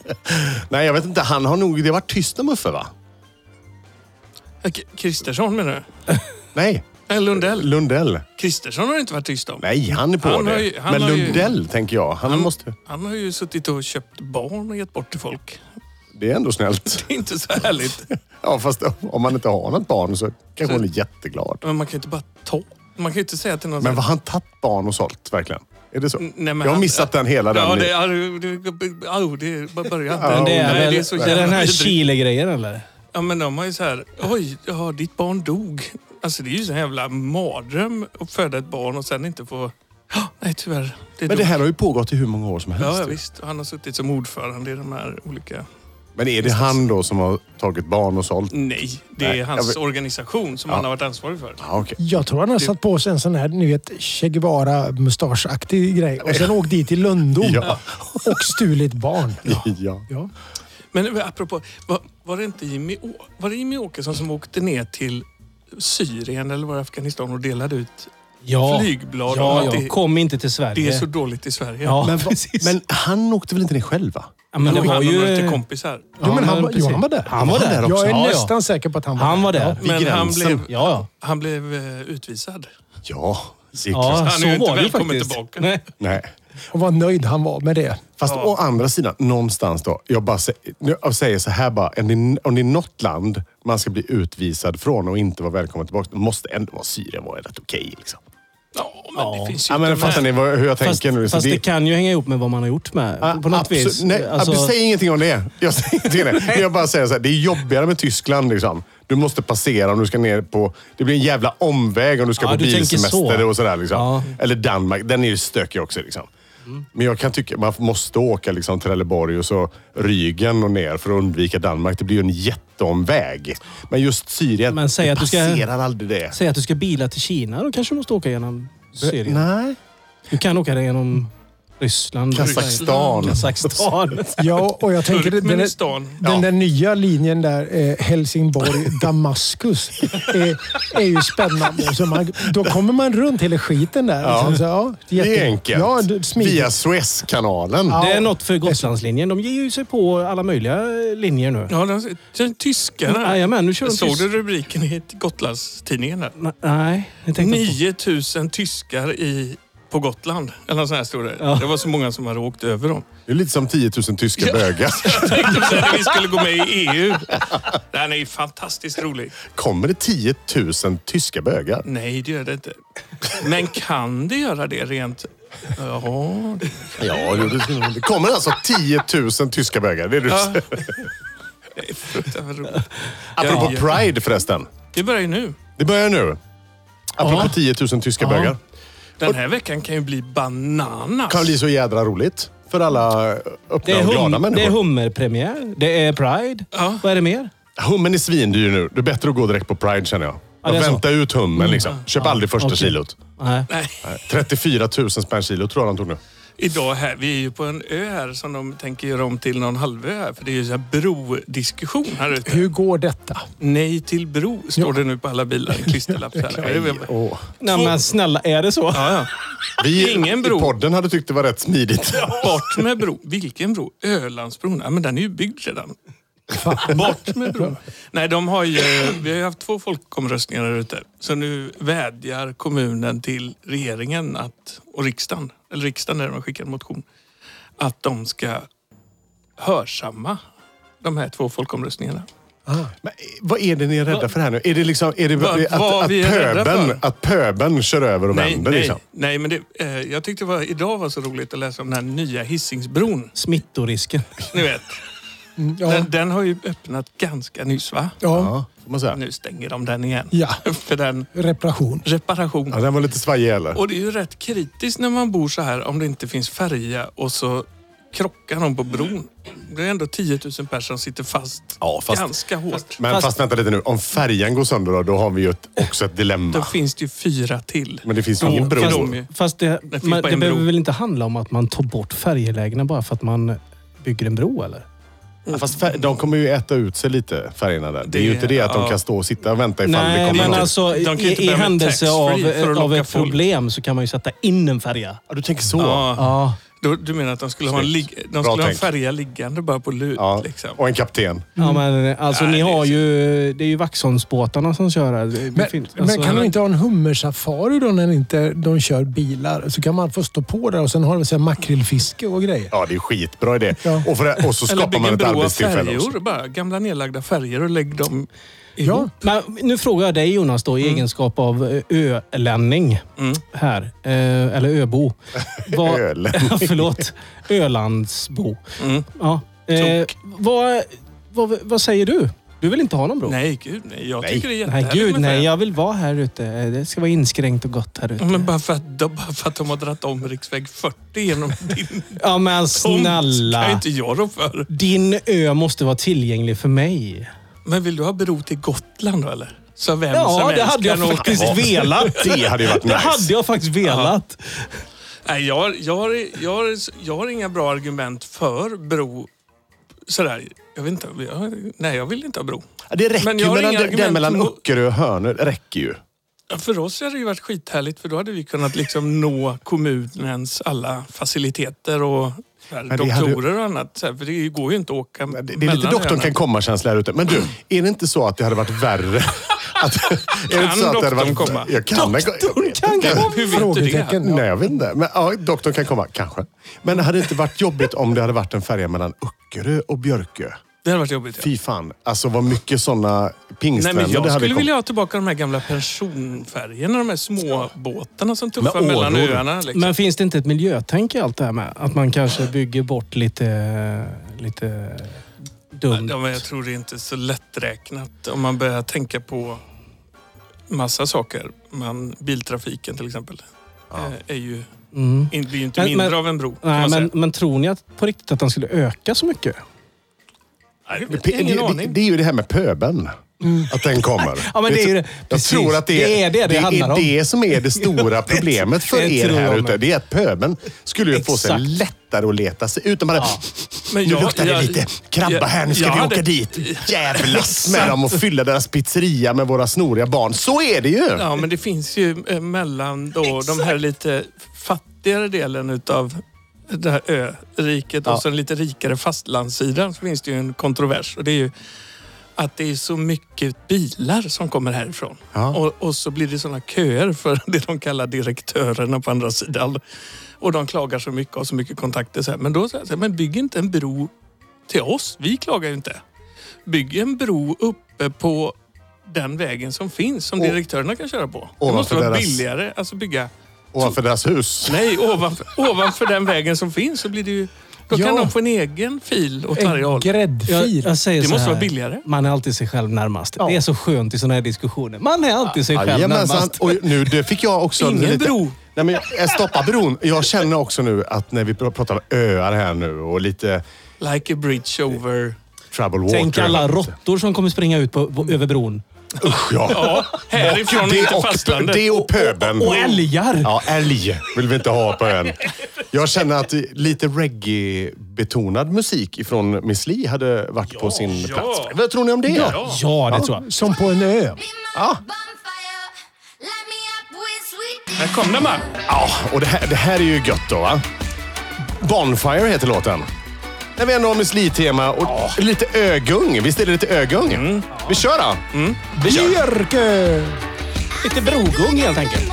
S2: Nej, jag vet inte. Han har nog... Det har varit tyst om Uffe, va?
S1: Eh, K- Kristersson menar
S2: Nej,
S1: du? Eh, Lundell.
S2: Lundell.
S1: Kristersson har det inte varit tyst om.
S2: Nej, han är på
S1: Han
S2: det.
S1: har ju- han
S2: men
S1: har ju-
S2: Lundell, tänker jag. Han, måste...
S1: Han har ju suttit och köpt barn och gett bort till folk. [laughs]
S2: Det är ändå snällt.
S1: Det är inte så härligt.
S2: Ja, fast om man inte har något barn så kanske
S1: Så-
S2: hon är jätteglad.
S1: Men man kan ju inte bara ta. Man kan ju inte säga till någon...
S2: Men
S1: så
S2: har han tagit barn och sålt verkligen? Är det så?
S1: här, "Nej, men
S2: jag har
S1: han-
S2: missat den hela.
S1: Ja,
S2: den.
S1: det är... det- Au, det bara börjar inte.
S3: Men det är,
S1: Nej,
S3: väl,
S1: det är så
S3: det är den
S1: jävla
S3: här
S1: vidrigt.
S3: Chile-grejen eller?
S1: Ja, men de har ju så här... Oj, ja, ditt barn dog. Alltså det är ju så jävla mardröm att föda ett barn och sen inte få... Ja, nej tyvärr. Det
S2: Men
S1: dog.
S2: det här har ju pågått i hur många år som helst.
S1: Ja, ja, visst. Och Han har suttit som ordförande i de här olika...
S2: men är det han då som har tagit barn och sålt?
S1: Nej, det är
S2: Nej, jag
S1: hans
S2: vet-
S1: organisation som
S2: Ja.
S1: han har varit ansvarig för.
S2: Ja, Ah, okej.
S4: Jag tror han har satt på sig en sån här, ni vet, Che Guevara-mustaschaktig grej och sen åkt dit till Lundom
S2: Ja.
S4: och stulit barn.
S2: [laughs] ja.
S4: Ja.
S1: Men eh, apropå, var, var det inte Jimmy, Å- var det Jimmy Åkesson som åkte ner till Syrien eller var det Afghanistan och delade ut
S3: Ja.
S1: flygblad om
S3: Ja,
S1: att
S3: ja.
S1: det,
S3: Kom inte till Sverige.
S1: det är så dåligt i Sverige?
S3: Ja,
S2: Men, va-
S3: [laughs] precis.
S2: men han åkte väl inte ner själv? Va?
S3: ja, men det
S1: Och
S3: var
S1: han och några till
S3: ju...
S1: kompisar.
S4: Jo, men
S3: men
S4: han, var- jo,
S3: precis.
S4: han var där.
S3: Han var där också.
S4: Jag är
S3: Ja, ja.
S4: nästan säker på att han var
S3: Han var där.
S2: Vid
S1: Men han
S2: gränsen.
S1: blev,
S3: Ja, ja.
S1: han blev eh, utvisad.
S2: Ja, säkert.
S3: Ja,
S1: Han är
S3: så
S1: ju inte
S3: var det ju
S1: välkommen
S3: faktiskt.
S1: tillbaka.
S3: Nej.
S2: Nej.
S4: Och vad nöjd han var med det.
S2: Fast å andra sidan, någonstans då. Jag bara sä- nu- jag säger så här bara. Om det, om det är något land man ska bli utvisad från och inte vara välkommen tillbaka, då måste ändå vara Syrien vara rätt okej. liksom.
S1: Ja, men
S3: Ja.
S1: det finns ju
S2: Ja, men
S1: inte
S2: fattar
S1: med.
S2: ni vad, hur jag
S3: Fast,
S2: tänker nu? Så
S3: fast det... kan ju hänga ihop med vad man har gjort med.
S2: Ah,
S3: på något
S2: absolut.
S3: vis.
S2: Nej,
S3: Alltså-
S2: Säg ingenting om det. [laughs] Jag säger ingenting om det. Men Jag bara säger så här, det är jobbigare med Tyskland. Liksom. Du måste passera om du ska ner på... Det blir en jävla omväg om du ska
S3: Ja,
S2: på
S3: du tänker
S2: bilsemester
S3: så.
S2: och sådär. Liksom.
S3: Ja. Mm.
S2: Eller Danmark. Den är ju stökig också. Liksom. Men jag kan tycka man måste åka liksom, Trelleborg och så Rügen och ner för att undvika Danmark. Det blir ju en jätteomväg. Men just Syrien,
S3: Men säg
S2: det
S3: att du ska-
S2: passerar aldrig det.
S3: Säg att du ska bila till Kina, då kanske du måste åka genom Syrien.
S2: Nej.
S3: Du kan åka genom Ryssland.
S2: Kazakstan.
S3: Kazakstan.
S2: [laughs]
S4: Ja, och
S1: [laughs]
S4: jag tänker den, den,
S1: Turkmenistan.
S4: den där nya linjen där, eh, Helsingborg-Damaskus, är, är ju spännande. Så man, då kommer man runt hela skiten där.
S2: Ja.
S4: Och sen så, ja,
S2: Det
S4: jätte-
S2: är enkelt.
S4: Ja, du- smidigt.
S2: Via Suezkanalen.
S4: Ja.
S3: Det är något för Gotlandslinjen. De ger ju sig på alla möjliga linjer nu.
S1: Ja, den, den tyskarna.
S3: Jajamän, nu kör de
S1: Jag såg
S3: tyst.
S1: du rubriken i Gotlandstidningen? Där.
S3: Nej, Nej, jag tänkte inte på-
S1: 9000 tyskar i, på Gotland. Eller något sånt här stod det.
S3: Ja.
S1: Det var så många som hade åkt över dem.
S2: Det är lite som 10 000
S3: [laughs]
S2: tyska bögar.
S1: Tänkte så här, vi skulle gå med i E EU. Den är ju fantastiskt rolig.
S2: Kommer det 10 000 tyska bögar?
S1: Nej, det gör det inte. Men kan det göra det rent... Ja, det-
S2: Ja, det, det, det kommer alltså 10 000 tyska bögar. Det är du
S1: ja.
S2: ja.
S1: Det är fruktansvärt roligt.
S2: Apropå
S1: Ja.
S2: Pride förresten.
S1: Det börjar ju nu.
S2: Det börjar nu. Apropå 10 000 tyska
S3: Ja.
S2: bögar.
S1: Den här veckan kan ju bli bananas.
S2: Kan bli så jädra roligt för alla
S3: Det
S2: öppna
S3: är,
S2: och glada
S3: hum, det är
S2: människor.
S3: hummerpremiär. Det är Pride.
S1: Ja.
S3: Vad är det mer?
S2: Hummen är svindyr nu. Det är bättre att gå direkt på Pride känner jag.
S3: Ja, det är
S2: jag
S3: så. Mm.
S2: väntar ut hummen liksom. Köp aldrig första
S3: okej.
S2: kilot.
S3: Nej.
S1: Nej,
S2: 34 000 spänn kilo tror jag de tog nu.
S1: idag här, vi är ju på en ö här som de tänker göra om till någon halvö här. För det är ju så här brodiskussion här ute.
S4: Hur går detta?
S1: Nej till bro står det nu på alla bilar. En klisterlapp. Så
S2: [laughs]
S1: här. Det är-
S2: Åh.
S3: Nej, men snälla, är det så?
S1: Ja, ja.
S2: Vi
S1: [laughs] Ingen
S2: Ingen
S1: bro.
S2: i podden hade tyckt det var rätt smidigt.
S1: Bort med bro. Vilken bro? Ölandsbron? Ja, men den är ju byggd redan. Bort med bron. Nej, de har ju, vi har ju haft två folkomröstningar där ute. Så nu vädjar kommunen till regeringen att, och riksdagen, eller riksdagen när de skickar en motion, att de ska hörsamma de här två folkomröstningarna.
S2: Men, eh, vad är det ni är rädda för här nu? Är det, liksom, är det
S1: Va-
S2: att,
S1: vad
S2: att,
S1: vi är rädda
S2: pöben,
S1: för?
S2: att pöben kör över och
S1: Nej,
S2: vänder?
S1: nej,
S2: liksom?
S1: nej, men det, eh, jag tyckte det var, idag var så roligt att läsa om den här nya Hisingsbron.
S3: [laughs] Smittorisken.
S1: Ni vet,
S4: Ja.
S1: den, den har ju öppnat ganska nyss va?
S4: ja.
S2: Ja, får man säga.
S1: Nu stänger de den igen.
S4: ja.
S1: [laughs] För den
S4: Reparation.
S1: reparation.
S2: Ja, den var lite svajig eller?
S1: Och det är ju rätt kritiskt när man bor så här om det inte finns färja och så krockar någon på bron. Det är ändå 10 000 personer som sitter fast
S2: Mm. Ja, fast-
S1: ganska hårt.
S2: Men fast,
S3: Fast-
S2: vänta lite nu. Om färjan går sönder då, då har vi ju ett, också ett
S1: Då
S2: dilemma.
S1: finns det ju fyra till.
S2: Men det finns
S1: Då-
S2: ju ingen
S1: fast-
S2: bro.
S1: ju.
S3: Fast det,
S1: finns
S3: man,
S1: bara
S3: det
S1: en
S3: behöver
S1: bro.
S3: väl inte handla om att man tar bort färjelägena bara för att man bygger en bro, eller?
S2: Ja, Fast fär, de kommer ju äta ut sig lite, färjorna där. Det är ju
S1: Det-
S2: inte det att de
S1: ja.
S2: kan stå och sitta och vänta ifall det
S3: Nej,
S2: kommer
S3: men
S2: någon.
S3: alltså
S1: De kan ju
S3: i,
S1: inte
S3: i
S1: börja med
S3: händelse av,
S1: taxfree för att
S3: av
S1: locka
S3: ett
S1: folk.
S3: problem så kan man ju sätta in en färja.
S2: Ja, du tänker så?
S1: Ja.
S3: Ja.
S1: Då, du menar att de skulle ha en,
S2: Snyggt.
S1: lig- de
S2: Bra
S1: skulle ha en
S2: tänkt.
S1: färja liggande bara på lut?
S2: Ja,
S1: Liksom.
S2: Och en kapten.
S3: Ja, men alltså
S1: Mm. Nej,
S3: ni
S1: det är
S3: har
S1: så-
S3: ju... Det är ju Vaxholmsbåtarna som kör här. Det
S4: Men,
S3: finns- alltså-
S4: men kan de inte ha en hummersafari då när inte de kör bilar? Så kan man få stå på där och sen har de så här makrillfiske och grejer.
S2: Ja, det är skitbra idé.
S4: Ja.
S2: Och, för det, och så
S1: Eller
S2: skapar
S1: bygga
S2: man
S1: en
S2: ett
S1: bro av
S2: arbetstillfälle också.
S1: färjor. Bara gamla nedlagda färjor och lägg dem
S4: Ja,
S1: ihop.
S3: Mm. Men nu frågar jag dig Jonas då, i
S1: Mm.
S3: egenskap av eh, ölänning här. Eh, eller
S1: [laughs]
S3: öbo. Vad-
S2: Ölänning.
S3: [laughs] Förlåt. Ölandsbo.
S1: Mm.
S3: Ja. Eh, vad, vad, vad säger du? Du vill inte ha någon bro?
S1: Nej, gud nej. Jag
S2: Nej.
S1: tycker det är
S3: Nej,
S1: jättehärligt
S3: gud
S1: med
S3: nej.
S1: färja.
S3: Jag vill vara här ute. Eh, Det ska vara inskränkt och gott här ute.
S1: Men bara för, att, de- bara för att de har dragit om riksväg 40
S3: [laughs]
S1: genom din
S3: ja, men
S1: tomt kan ju
S3: snälla.
S1: inte jag rå för.
S3: Din ö måste vara tillgänglig för mig.
S1: Men vill du ha bro till Gotland då eller? Så vem som
S3: Ja, det
S1: helst
S3: hade jag
S1: kan åka
S3: faktiskt
S1: dit.
S3: velat.
S2: [laughs] Det hade ju varit
S3: Det
S2: nice.
S3: hade jag faktiskt velat.
S1: Nej, jag, har- jag, har, jag, har, jag har inga bra argument för bro. Sådär, jag vet inte. Jag, nej, jag vill inte ha bro.
S2: Det räcker
S1: Men jag
S2: ju
S1: har
S2: mellan,
S1: inga
S2: den- den
S1: argument
S2: mellan
S1: mot-
S2: Öckerö och Hönö. räcker ju.
S1: För oss hade det ju varit skithärligt för då hade vi kunnat liksom nå kommunens alla faciliteter och så här,
S2: Men det hade-
S1: doktorer och annat. Så här, för det går ju inte att åka
S2: Det, det är
S1: mellan
S2: lite doktorn
S1: öarna.
S2: kan komma-känsla här ute. Men du, är det inte så att det hade varit värre? [laughs] Att, är det
S1: Kan doktorn komma?
S2: Jag kan doktorn
S3: kan komma.
S1: Hur vet du det?
S4: Frågetecken.
S2: Nej, jag vet inte. Men, ja, doktorn kan komma, kanske. Men hade det inte varit jobbigt om det hade varit en färja mellan Öckerö och Björkö?
S1: Det hade varit jobbigt. Ja.
S2: Fy fan, alltså vad mycket sådana
S1: Nej,
S2: pingstvänner
S1: men
S2: det
S1: jag
S2: hade
S1: skulle
S2: kommit.
S1: vilja ha tillbaka de här gamla personfärgerna. De här småbåtarna som tuffar
S2: Med
S1: mellan
S2: åror.
S1: öarna. Liksom.
S3: Men finns det inte ett miljötänk i allt det här med? Att man kanske bygger bort lite, lite dumt.
S1: Ja, men jag tror det är inte så lätträknat om man börjar tänka på massa saker. Men biltrafiken till exempel eh, är ju,
S3: Mm.
S1: in- blir ju inte
S3: Men-
S1: mindre
S3: men-
S1: av en bro. kan
S3: Nej,
S1: man säga.
S3: men, men tror ni att, på riktigt att den skulle öka så mycket?
S1: Nej,
S2: Det-
S1: jag har ingen
S2: det, det,
S1: aning.
S2: det är ju det här med pöben. Att den kommer.
S3: Mm. [laughs] Ja, men det är ju det.
S2: Jag
S3: Precis.
S2: tror att det är
S3: Det är det det handlar om.
S2: det som
S3: [laughs]
S2: är det stora problemet för
S3: det
S2: er
S3: tror
S2: här
S3: jag med.
S2: ute. Det är att pöben skulle ju få sig
S3: Exakt.
S2: lättare att leta sig ut. De hade,
S1: Men
S2: nu
S1: jag-
S2: luktar det
S1: jag-
S2: lite krabba
S1: jag-
S2: här, nu ska
S1: jag
S2: vi
S1: hade-
S2: åka dit.
S3: [laughs]
S2: Jävlas med dem och fylla deras pizzeria med våra snoriga barn. Så är det ju!
S1: Ja, men det finns ju eh, mellan då de här lite fattigare delen utav det här öriket
S2: Ja.
S1: och sen lite rikare fastlandssidan så finns det ju en kontrovers och det är ju att det är så mycket bilar som kommer härifrån.
S2: Ja.
S1: Och, och så blir det sådana köer för [laughs] det de kallar direktörerna på andra sidan. Och de klagar så mycket och har så mycket kontakter. Så här. Men då säger jag så här, men bygg inte en bro till oss. Vi klagar ju inte. Bygg en bro uppe på den vägen som finns, som
S2: Och-
S1: direktörerna kan köra på. Det
S2: Ovanför
S1: måste vara
S2: deras-
S1: billigare. Alltså bygga...
S2: Ovanför deras hus.
S1: Nej,
S2: [laughs]
S1: ovanför, ovanför den vägen som finns så blir det ju... Då kan
S4: Ja.
S1: de få en egen fil åt varje
S4: En
S1: håll.
S3: Jag,
S4: gräddfil.
S3: jag säger
S1: Det
S3: så
S1: måste
S3: här,
S1: vara billigare.
S3: Man är alltid sig själv närmast. Det är så skönt i sådana här diskussioner. Man är alltid sig själv
S2: Jajamensan.
S3: närmast.
S2: Och nu det fick jag också...
S1: Ingen
S2: lite-
S1: bro.
S2: Nej, men jag- stoppa bron. Jag känner också nu att när vi pr- pratar om öar här nu och lite
S1: Like a bridge over...
S2: trouble water.
S3: Tänk alla råttor som kommer springa ut på, på, över bron.
S2: Usch ja.
S1: Ja, härifrån
S2: Det
S1: inte
S2: och-
S1: fastlandet.
S2: Det och pöben.
S3: Och älgar!
S2: Ja, älg vill vi inte ha på ön. Jag känner att lite reggae-betonad musik ifrån Miss Li hade varit på sin
S1: ja.
S2: plats. Vad tror ni om det?
S1: Ja.
S3: Ja, det tror jag.
S4: Som på en ö.
S1: Här kom den bara.
S2: Ja, och det här, det här är ju gött då va? Bonfire heter låten. När vi ändå har Miss Li-tema och lite ögung. Visst är det lite ögung? Vi kör då!
S4: Björkö!
S3: Lite brogung helt enkelt.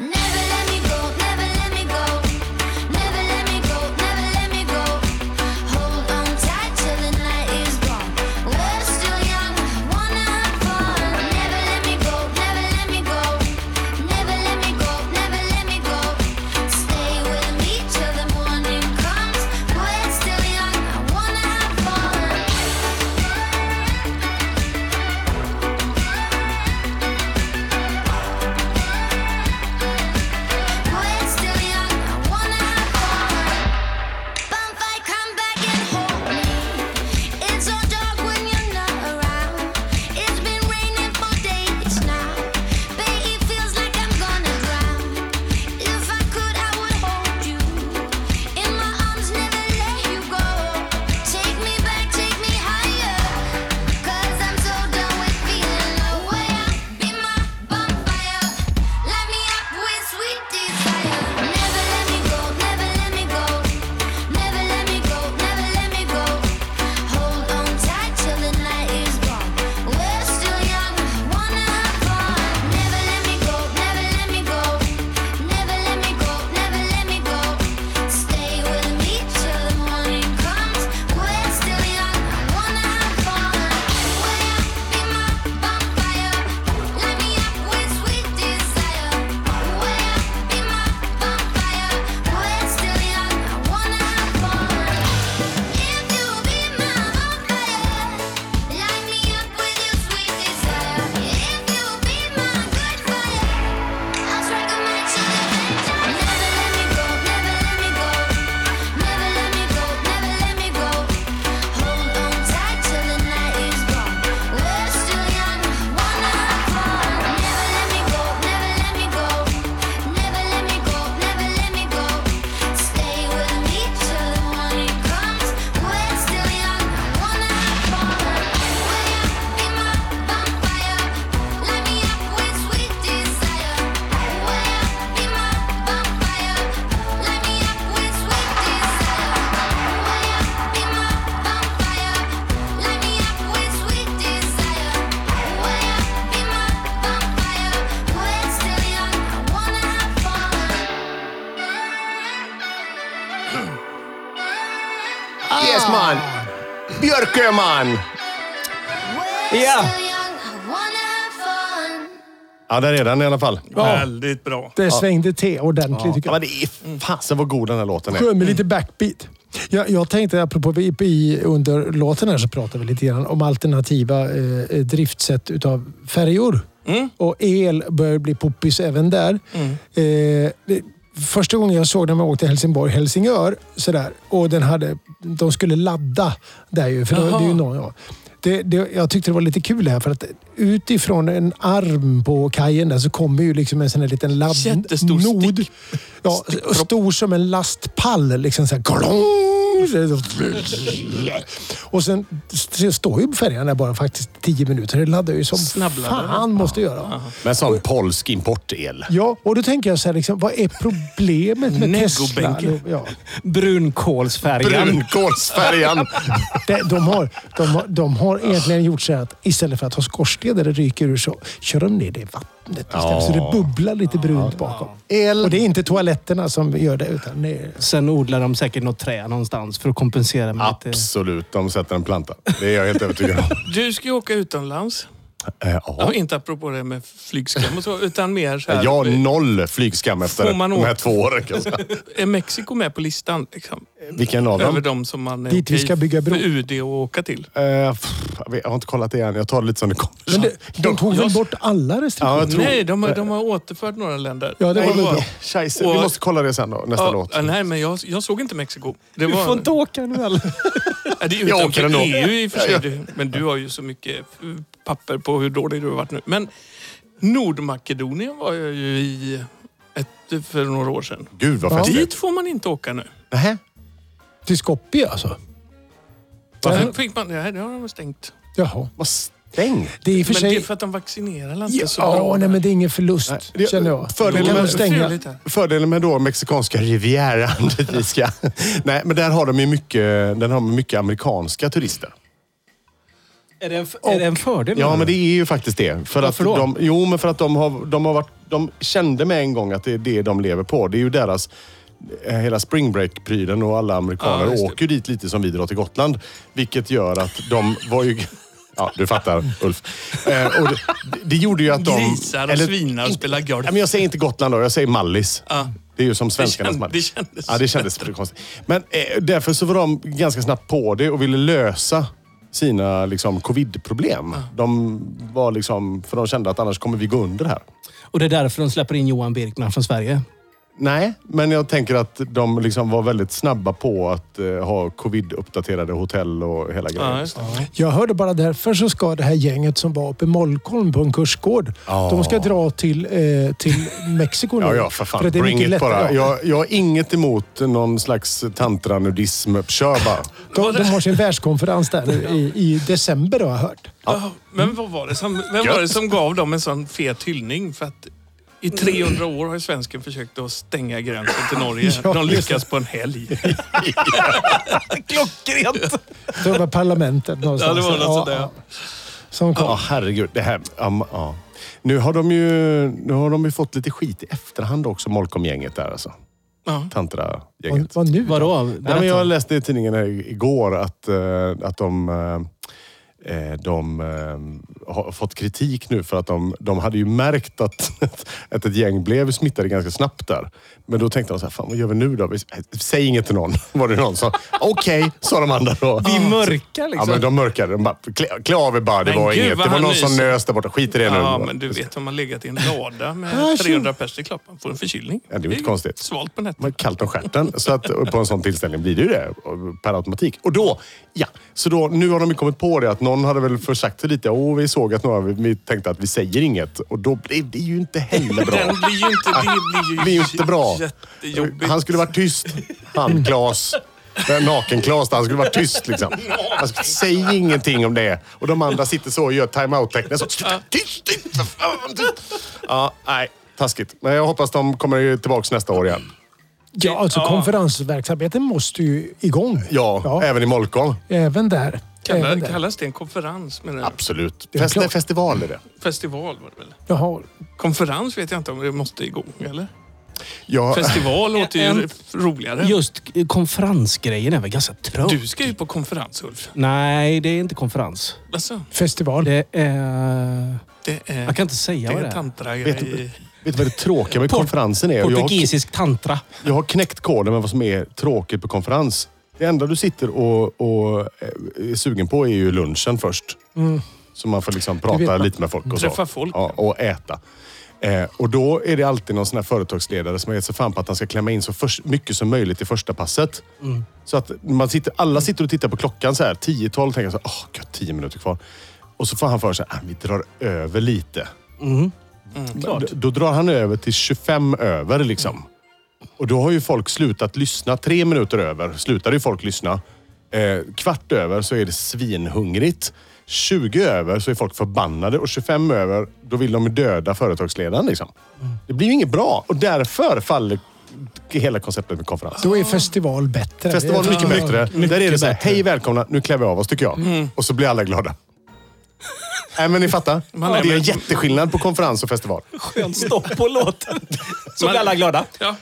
S5: Never let me go, never let me go, never let me go, never let me
S2: Yes man! Björkö man!
S3: Ja.
S2: Ja, där är den i alla fall.
S1: Väldigt bra.
S4: Det svängde till ordentligt tycker
S2: Ja, men
S4: jag.
S2: det är fasen vad god den här låten är.
S4: Sjön med lite backbeat. Jag, jag tänkte, apropå vi- i, under låten här så pratade vi lite grann om alternativa eh, driftsätt utav färjor.
S1: Mm.
S4: Och el börjar bli poppis även där. Eh, det, första gången jag såg den var jag åkte Helsingborg-Helsingör. Sådär, och den hade, de skulle ladda där ju. För det, det är ju någon, ja. det, det, jag tyckte det var lite kul här för att utifrån en arm på kajen där så kommer ju liksom en sån här liten
S1: Jättestor
S4: laddnod.
S1: stick.
S4: Ja, och stor som en lastpall. Liksom så här, glong, så här, och sen s- står ju färjan där bara faktiskt tio minuter. Det laddar ju som
S1: Snabbladdare.
S4: fan måste göra.
S2: Men sån polsk importel.
S4: Ja, och då tänker jag så här, liksom, vad är problemet med Tesla?
S1: Negobänken.
S4: Ja,
S3: Brunkolsfärjan.
S2: Brunkolsfärjan.
S4: de, de, har, de, har, de har egentligen gjort så här att istället för att ha skorstenar där det ryker ur så kör de ner det i vattnet istället. Så det bubblar lite brunt bakom.
S2: El.
S4: Och det är inte toaletterna som gör det utan det är
S3: Sen odlar de säkert något trä någonstans för att kompensera med lite...
S2: Absolut, de sätter en planta. Det är jag helt övertygad om.
S1: Du ska ju åka utomlands.
S2: Eh,
S1: Ja,
S2: ja.
S1: inte apropå det med flygskam och så, utan mer så här.
S2: Jag har noll flygskam efter
S1: Får man
S2: de här
S1: åka?
S2: två åren. kan jag säga.
S1: Är Mexiko med på listan? Liksom,
S2: Vilken av
S1: över
S2: dem?
S1: de som man är
S4: Dit vi
S1: okej
S4: ska bygga bro.
S1: för UD att åka till.
S2: Eh, pff, jag vet- jag har inte kollat det än. Jag tar det lite som det kommer.
S4: Men det, de tog väl bort alla restriktioner?
S2: Ja, jag tror...
S1: Nej, de, har- de har återfört några länder.
S4: Ja, det var väl bra.
S2: Scheisse, vi
S1: Och-
S2: måste kolla det sen då, nästa
S1: Ja,
S2: låt.
S1: ja, nej, men jag, jag såg inte Mexiko. Det
S3: Du
S1: var,
S3: får inte åka nu eller?
S1: Ja, det är
S2: Jag åker
S1: utanför
S2: ändå.
S1: EU i och för sig. Du- Men du har ju så mycket eh, papper på hur dålig du har varit nu. Men Nordmakedonien var jag ju i ett, för några år sedan.
S2: Gud vad
S4: Ja.
S2: festligt.
S1: Dit får man inte åka nu.
S2: Nähä?
S4: Till Skopje alltså?
S1: Varför fick man? Nej, det har de stängt.
S4: Jaha.
S2: Vad stängt.
S4: Det är i och för
S1: Men det är
S4: sig...
S1: för att de vaccinerar landet
S4: Ja,
S1: så bra.
S4: nej, men det är ingen förlust,
S2: det-
S4: känner jag.
S2: fördelen
S4: Då kan
S2: med-
S4: de stänga.
S1: Trevligt här.
S2: Fördelen med då mexikanska [laughs] rivieran, dit vi ska. Nej, men där har de ju mycket, den har de mycket amerikanska turister.
S3: Är det en, f- är det en fördel?
S2: Ja, men det är ju faktiskt det. För
S3: Varför
S2: att
S3: då?
S2: De, jo, men för att de har, de har varit... De kände med en gång att det är det de lever på. Det är ju deras... eh, Hela spring break-prylen och alla amerikaner
S1: Ja, just det.
S2: åker ju dit lite som vi drar till Gotland. Vilket gör att de var ju... [laughs] Ja, du fattar Ulf. Eh, och det, det gjorde ju att de...
S1: Grisar och
S2: eller-
S1: svinar och spelar golf.
S2: Nej, men jag säger inte Gotland då, jag säger Mallis.
S1: Ja.
S2: Det är ju som svenskarnas
S1: Det kän-
S2: Mallis.
S1: det kändes-
S2: Ja, det kändes pretty konstigt. Men eh, därför så var de ganska snabbt på det och ville lösa sina liksom, covid-problem. De var liksom, för de kände att annars kommer vi gå under här.
S3: Och det är därför de släpper in Johan Birkman från Sverige.
S2: Nej, men jag tänker att de liksom var väldigt snabba på att eh, ha covid-uppdaterade hotell och hela grejen.
S1: Ja, just det.
S4: Jag hörde bara därför så ska det här gänget som var uppe i Molkholm på en kursgård, de ska dra till, eh, till Mexiko nu.
S2: Ja, ja, för fan.
S4: att det är
S2: Bring
S4: mycket
S2: it
S4: lättare.
S2: bara.
S4: Ja.
S2: Jag, jag har inget emot någon slags tantranudism.
S1: [laughs]
S2: Kör bara.
S4: De, de har sin världskonferens där i, i december har jag hört.
S1: Ja, Men vad var det som, vem var det som gav dem en sån fet hyllning? För att i 300 år har ju svensken försökt att stänga gränsen till
S2: [laughs]
S1: Norge.
S4: Ja,
S1: De
S4: just det.
S1: lyckas på en helg.
S3: [laughs] Klockrent!
S4: Det var parlamentet
S1: Ja,
S4: någonstans.
S1: det var något sånt där.
S4: ja.
S1: ja.
S4: Som kom.
S2: Ja, herregud. Det här, ja, ma- ja. Nu, har de ju, nu har de ju fått lite skit i efterhand också, Molkom-gänget där alltså.
S1: Ja.
S4: Vad,
S2: Tantra-gänget.
S4: vad nu?
S3: Vadå?
S2: Nej,
S3: Berätta.
S2: men jag läste i tidningen här i- igår att, eh, att de, eh, eh, de eh, har fått kritik nu för att de, de hade ju märkt att, [laughs] att ett gäng blev smittade ganska snabbt där. Men då tänkte de så här, fan vad gör vi nu då? Vi, säg inget till någon, [laughs] var det någon som Okej, sa de andra då.
S3: Vi mörkar liksom.
S2: Ja, men de mörkade. De bara, klä, klä av er bara. Det
S1: Men
S2: var
S1: gud,
S2: inget.
S1: vad
S2: Det var
S1: han
S2: någon som
S1: nyser.
S2: nös där borta. Skit i det nu.
S1: Ja, men du vet om man legat i en lada
S4: Ah,
S1: med
S4: tjo.
S1: 300 pers i klappan får en förkylning.
S2: Ja, det är ju inte konstigt.
S1: Svalt på nätet.
S2: Man är kallt om stjärten. Så att på en sån tillställning blir det ju det per automatik. Och då, ja. Så då, nu har de ju kommit på det att någon hade väl försagt sig lite. Åh, vi såg att några, vi, vi tänkte att vi säger inget. Och då blev det ju inte heller bra.
S1: Den blir ju inte... Det
S2: [laughs] Det
S1: blir
S2: blir
S1: ju
S2: ju inte bra.
S1: jättejobbigt.
S2: Han skulle varit tyst. Han, Klas. Den Naken-Klas, han skulle varit tyst liksom. Han skulle, säg ingenting om det. Och de andra sitter så och gör time-out-tecknet. Så, Tyst, tyst, för fan, tyst. Ja, nej. Taskigt. Men jag hoppas de kommer tillbaka nästa år igen.
S4: Ja, alltså
S1: Ja.
S4: konferensverksamheten måste ju igång.
S2: Ja, även i Molkom.
S4: Även där.
S1: Kallar,
S4: Även där.
S1: kallas det en konferens? Med en
S2: Absolut.
S4: är
S2: Fest,
S4: klart.
S2: nej, festival är det.
S1: festival var det väl?
S4: Jaha.
S1: Konferens vet jag inte om det måste igång, eller?
S2: Jag, [laughs]
S1: Festival låter ju
S3: En-
S1: roligare.
S3: Just eh, konferensgrejen är väl ganska tråkig?
S1: Du ska ju på konferens, Ulf.
S3: Nej, det är inte konferens.
S1: Alltså,
S4: Festival.
S3: Det är...
S1: det är,
S3: Jag kan inte säga
S1: det
S3: vad
S1: är
S3: det är.
S1: tantra
S2: Vet du- vet du vad det tråkiga med
S3: Port-
S2: konferensen är? Och Jag har,
S3: Portugisisk tantra.
S2: jag har knäckt koden med vad som är tråkigt på konferens. Det enda du sitter och, och eh, är sugen på är ju lunchen först. Så man får liksom prata
S4: vet-
S2: lite med folk och så.
S1: Träffa folk.
S2: Ja, och äta. Eh, och då är det alltid någon sån här företagsledare som har gett sig fan på att han ska klämma in så förs- mycket som möjligt i första passet. Så att man sitter, alla sitter och tittar på klockan så här 10-12 och tänker så här, åh, gött, 10 minuter kvar. Och så får han för sig att vi drar över lite.
S3: Klart.
S2: D- Då drar han över till 25 över liksom. Och då har ju folk slutat lyssna. Tre minuter över slutar ju folk lyssna. Eh, kvart över så är det svinhungrigt. 20 över så är folk förbannade och 25 över då vill de döda företagsledaren. Liksom. Det blir ju inget bra och därför faller hela konceptet med konferens.
S4: Då är festival bättre.
S2: Festival är mycket
S4: Ja.
S2: bättre. Där är det så här, hej välkomna, nu klär vi av oss tycker jag. Och så blir alla glada. Nej men ni fattar.
S1: Man är
S2: det är en
S1: med-
S2: jätteskillnad på konferens och festival.
S3: Skönt stopp på låten. Så blir alla glada.
S1: Ja.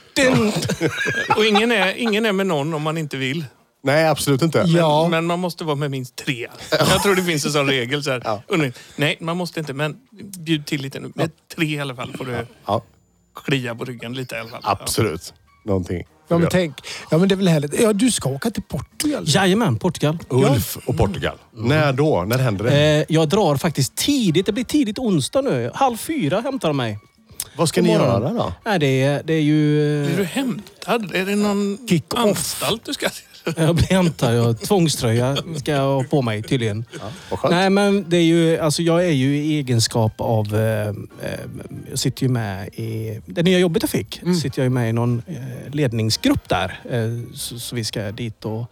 S1: Och ingen är, ingen är med någon om man inte vill.
S2: Nej, absolut inte.
S4: Ja.
S1: Men man måste vara med minst tre. Jag tror det finns en sån regel. Så här.
S2: Ja.
S1: Undring. Nej, man måste inte, men bjud till lite nu. Med tre i alla fall får du
S2: Ja,
S1: klia på ryggen lite i alla fall.
S2: absolut. Någonting.
S4: Ja, men tänk. Ja, men det är väl härligt. Ja, du ska åka till Portugal.
S3: Jajamän, Portugal.
S2: Ulf och Portugal. När då? När händer det?
S3: Mm. Eh, jag drar faktiskt tidigt. Det blir tidigt onsdag nu. Halv fyra hämtar de mig.
S2: Vad ska ni göra då?
S3: Nej, det, är, det är ju...
S1: Blir du hämtad? Är det någon
S4: Kick-off.
S1: anstalt du ska till?
S3: [laughs] Jag blir hämtad. Jag, tvångströja ska jag ha på mig tydligen.
S2: Vad skönt.
S3: Nej, men det är ju, alltså jag är ju i egenskap av... Eh, eh, jag sitter ju med i... Det nya jobbet jag fick sitter jag ju med i någon eh, ledningsgrupp där. Eh, så, så vi ska dit och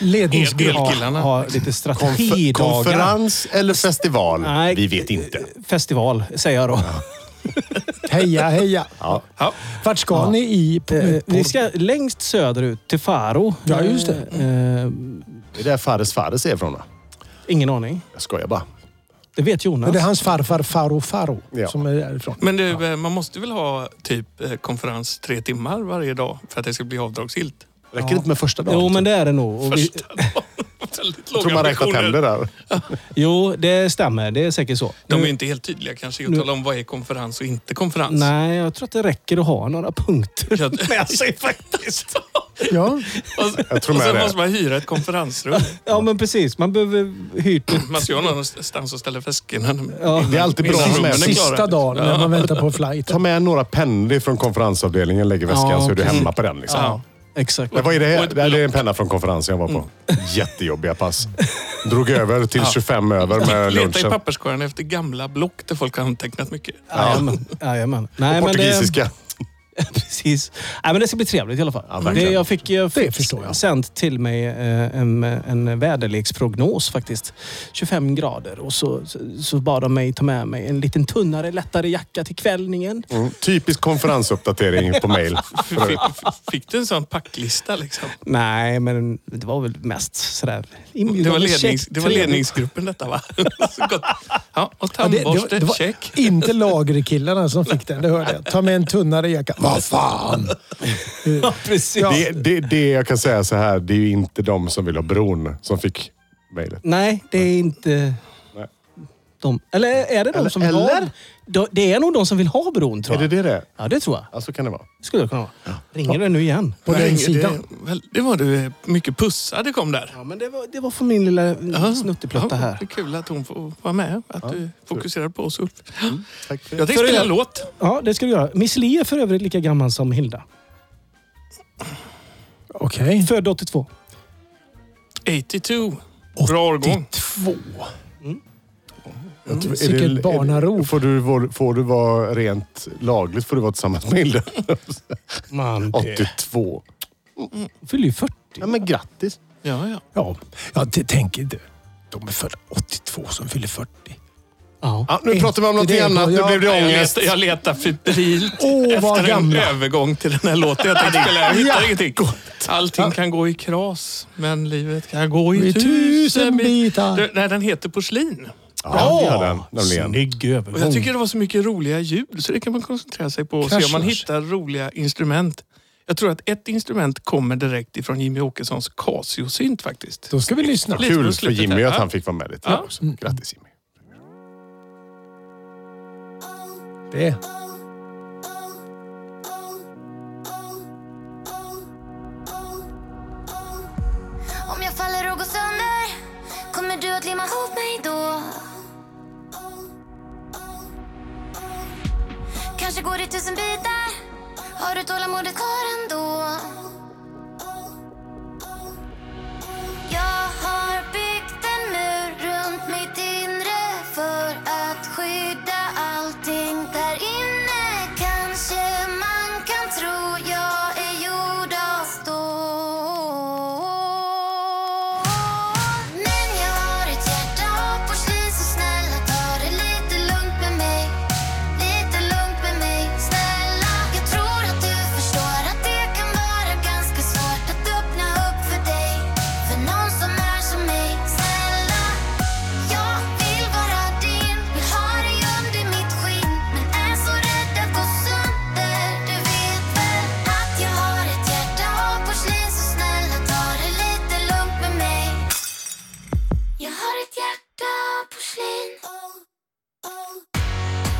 S4: Ledningsgrupp.
S1: Del- Elkillarna.
S3: ha lite
S2: Konfer-
S3: strategidagar.
S2: konferens eller festival?
S3: Alltså, Nej.
S2: Vi vet inte.
S3: Festival, säger jag då.
S4: Heja, heja.
S2: Ja.
S1: Ja.
S4: Vart ska ni i
S3: Eh,
S4: Portugal?
S3: vi ska längst söderut, till Faro.
S4: Ja, just det.
S3: Eh, eh,
S2: Det är där Fares Fares är ifrån. va?
S3: ingen aning.
S2: Jag skojar bara.
S3: Det vet Jonas.
S4: Men det är hans farfar Faro Faro
S2: Ja.
S4: som är därifrån.
S1: Men du, eh, man måste väl ha typ eh, konferens tre timmar varje dag för att det ska bli avdragsgillt?
S2: Räcker det inte med första dagen?
S3: Jo, men det är det nog. Och vi,
S1: Första dagen. Väldigt
S2: Jag tror
S1: låga
S2: man räknar
S1: ambitioner.
S2: tänder där.
S3: jo, det stämmer. Det är säkert så. Eh,
S1: De är ju
S3: Nu-
S1: inte helt tydliga kanske i att tala om vad är konferens och inte konferens.
S3: Nej, jag tror att det räcker att ha några punkter.
S4: [laughs]
S1: Jag- med sig faktiskt.
S4: Ja.
S1: [laughs] och,
S2: Jag tror
S1: och
S2: med
S1: sen
S2: det.
S1: måste man hyra ett konferensrum.
S3: [laughs] Ja, men precis. Man behöver hyrt ett...
S1: Man ska ju ha någonstans att ställa väskorna.
S3: Ja.
S2: Det är alltid bra
S1: Innan
S2: som
S1: rummen
S2: är.
S1: är
S2: Sist-
S1: klara.
S4: Sista dagen när man väntar på flight.
S2: Ta med några pennor från konferensavdelningen, lägg i väskan
S3: Ja,
S2: så är du
S3: precis.
S2: hemma på den. Liksom.
S1: Ja.
S3: Exakt.
S2: Men vad är det
S1: Och
S2: här?
S1: ett
S2: Det här är en penna från konferensen jag var på.
S3: Mm.
S2: [laughs] Jättejobbiga pass. Drog över till 25 över med
S1: Leta i
S2: lunchen.
S1: papperskorgen efter gamla block där folk har antecknat mycket.
S3: Jajamän. Jajamän. Nej, men det,
S2: Portugisiska.
S3: precis. Nej, men det ska bli trevligt i alla fall.
S2: Ja, verkligen.
S3: det, jag fick, jag
S4: Det
S3: fick
S4: förstår jag.
S3: sänt till mig eh, en, en väderleksprognos faktiskt. 25 grader. Och så, så- så bad de mig ta med mig en liten tunnare, lättare jacka till kvällningen.
S2: Mm, typisk konferensuppdatering på mail.
S1: Fick, fick du en sån packlista liksom?
S3: Nej, men det var väl mest sådär...
S1: Det var,
S3: inbjudande,
S1: lednings,
S3: käckt,
S1: det var
S3: trevligt.
S1: ledningsgruppen detta va? [laughs] Så gott. Ja, och
S4: Ja, det- det var-
S1: tandborste,
S4: det var
S1: check.
S4: Inte lagerkillarna som fick den, det hörde jag. Ta med en tunnare jacka. Vad fan!
S3: [laughs] Ja, precis.
S2: Det, det, det jag kan säga så här, det är ju inte de som vill ha bron som fick mejlet.
S3: Nej, det är inte...
S2: Nej.
S3: De, eller är det de
S2: Eller-
S3: som vill ha...
S2: eller?
S3: De, det är nog de som vill ha bron,
S2: Är
S3: tror jag.
S2: det det det är?
S3: Ja, det Mm. tror jag.
S2: Ja, så kan det vara.
S3: Skulle det kunna vara. Ringer det nu igen?
S4: På
S1: Nej,
S4: den sidan.
S1: Det, väl- det var du eh, mycket pussar det kom där.
S3: Ja, men det var, det var för min lilla
S1: Ja,
S3: snutteplutta
S1: ja,
S3: här.
S1: Det är kul att hon får vara med. Att du fokuserar på oss Ulf.
S2: Mm, Tack för det.
S1: Jag tänkte
S3: För
S1: spela
S3: det-
S1: en låt.
S3: Ja, det ska du göra. Miss Li är för övrigt lika gammal som Hilda.
S4: Okej.
S3: Född 82.
S1: 82. Bra årgång.
S4: Två. Mm.
S3: Mm,
S2: Jag tror- är
S4: Vilket
S2: det-
S4: barnarop.
S2: Får du, vår- får du vara rent lagligt får du vara tillsammans med Hilda.
S3: Man, det
S2: 82.
S3: fyller ju 40.
S2: Ja, men grattis.
S1: Ja, ja.
S4: Ja, ja det tänker du. De är födda 82 som fyller 40.
S3: Ja.
S2: Ja, nu pratar vi om någonting
S4: det-
S2: annat. Nu
S4: ja,
S2: blev det
S1: Jag
S2: ångest.
S1: letar, jag letar [laughs] febrilt
S4: Åh, vad
S1: efter
S4: gamla.
S1: en övergång till den här låten jag tänkte spela. Jag hittar ingenting. Allting kan gå i kras, men livet kan gå i,
S4: I tusen bitar.
S1: Du, Nej, den heter Porslin.
S2: Ja, det gör den nämligen.
S3: Snygg övergång.
S1: Och jag tycker det var så mycket roliga ljud så det kan man koncentrera sig på och se om man
S4: Crashers.
S1: hittar roliga instrument. Jag tror att ett instrument kommer direkt ifrån Jimmy Åkessons Casio-synt faktiskt.
S4: Då ska vi lyssna.
S1: Lite på
S2: Kul för
S1: slutet
S2: Jimmy
S1: här.
S2: att han fick vara med lite
S1: Ja.
S2: också. Grattis Jimmy.
S4: Det.
S5: Om jag faller och går sönder kommer du att limma ihop mig då Kanske går det tusen bitar Har du tålamodet kvar ändå? Jag har byggt en mur runt mitt inre för att skydda allting där inne Kanske man kan tro jag är gjord av stål Men jag har ett hjärta av porslin så snälla ta det lite lugnt med mig Lite lugnt med mig, snälla Jag tror att du förstår att det kan vara ganska svårt att öppna upp för dig För någon som är som mig, snälla jag vill vara din, vill ha dig under mitt skinn Men är så rädd att gå sönder Du vet väl att jag har ett hjärta av porslin Så snälla ta det lite lugnt med mig Jag har ett hjärta av porslin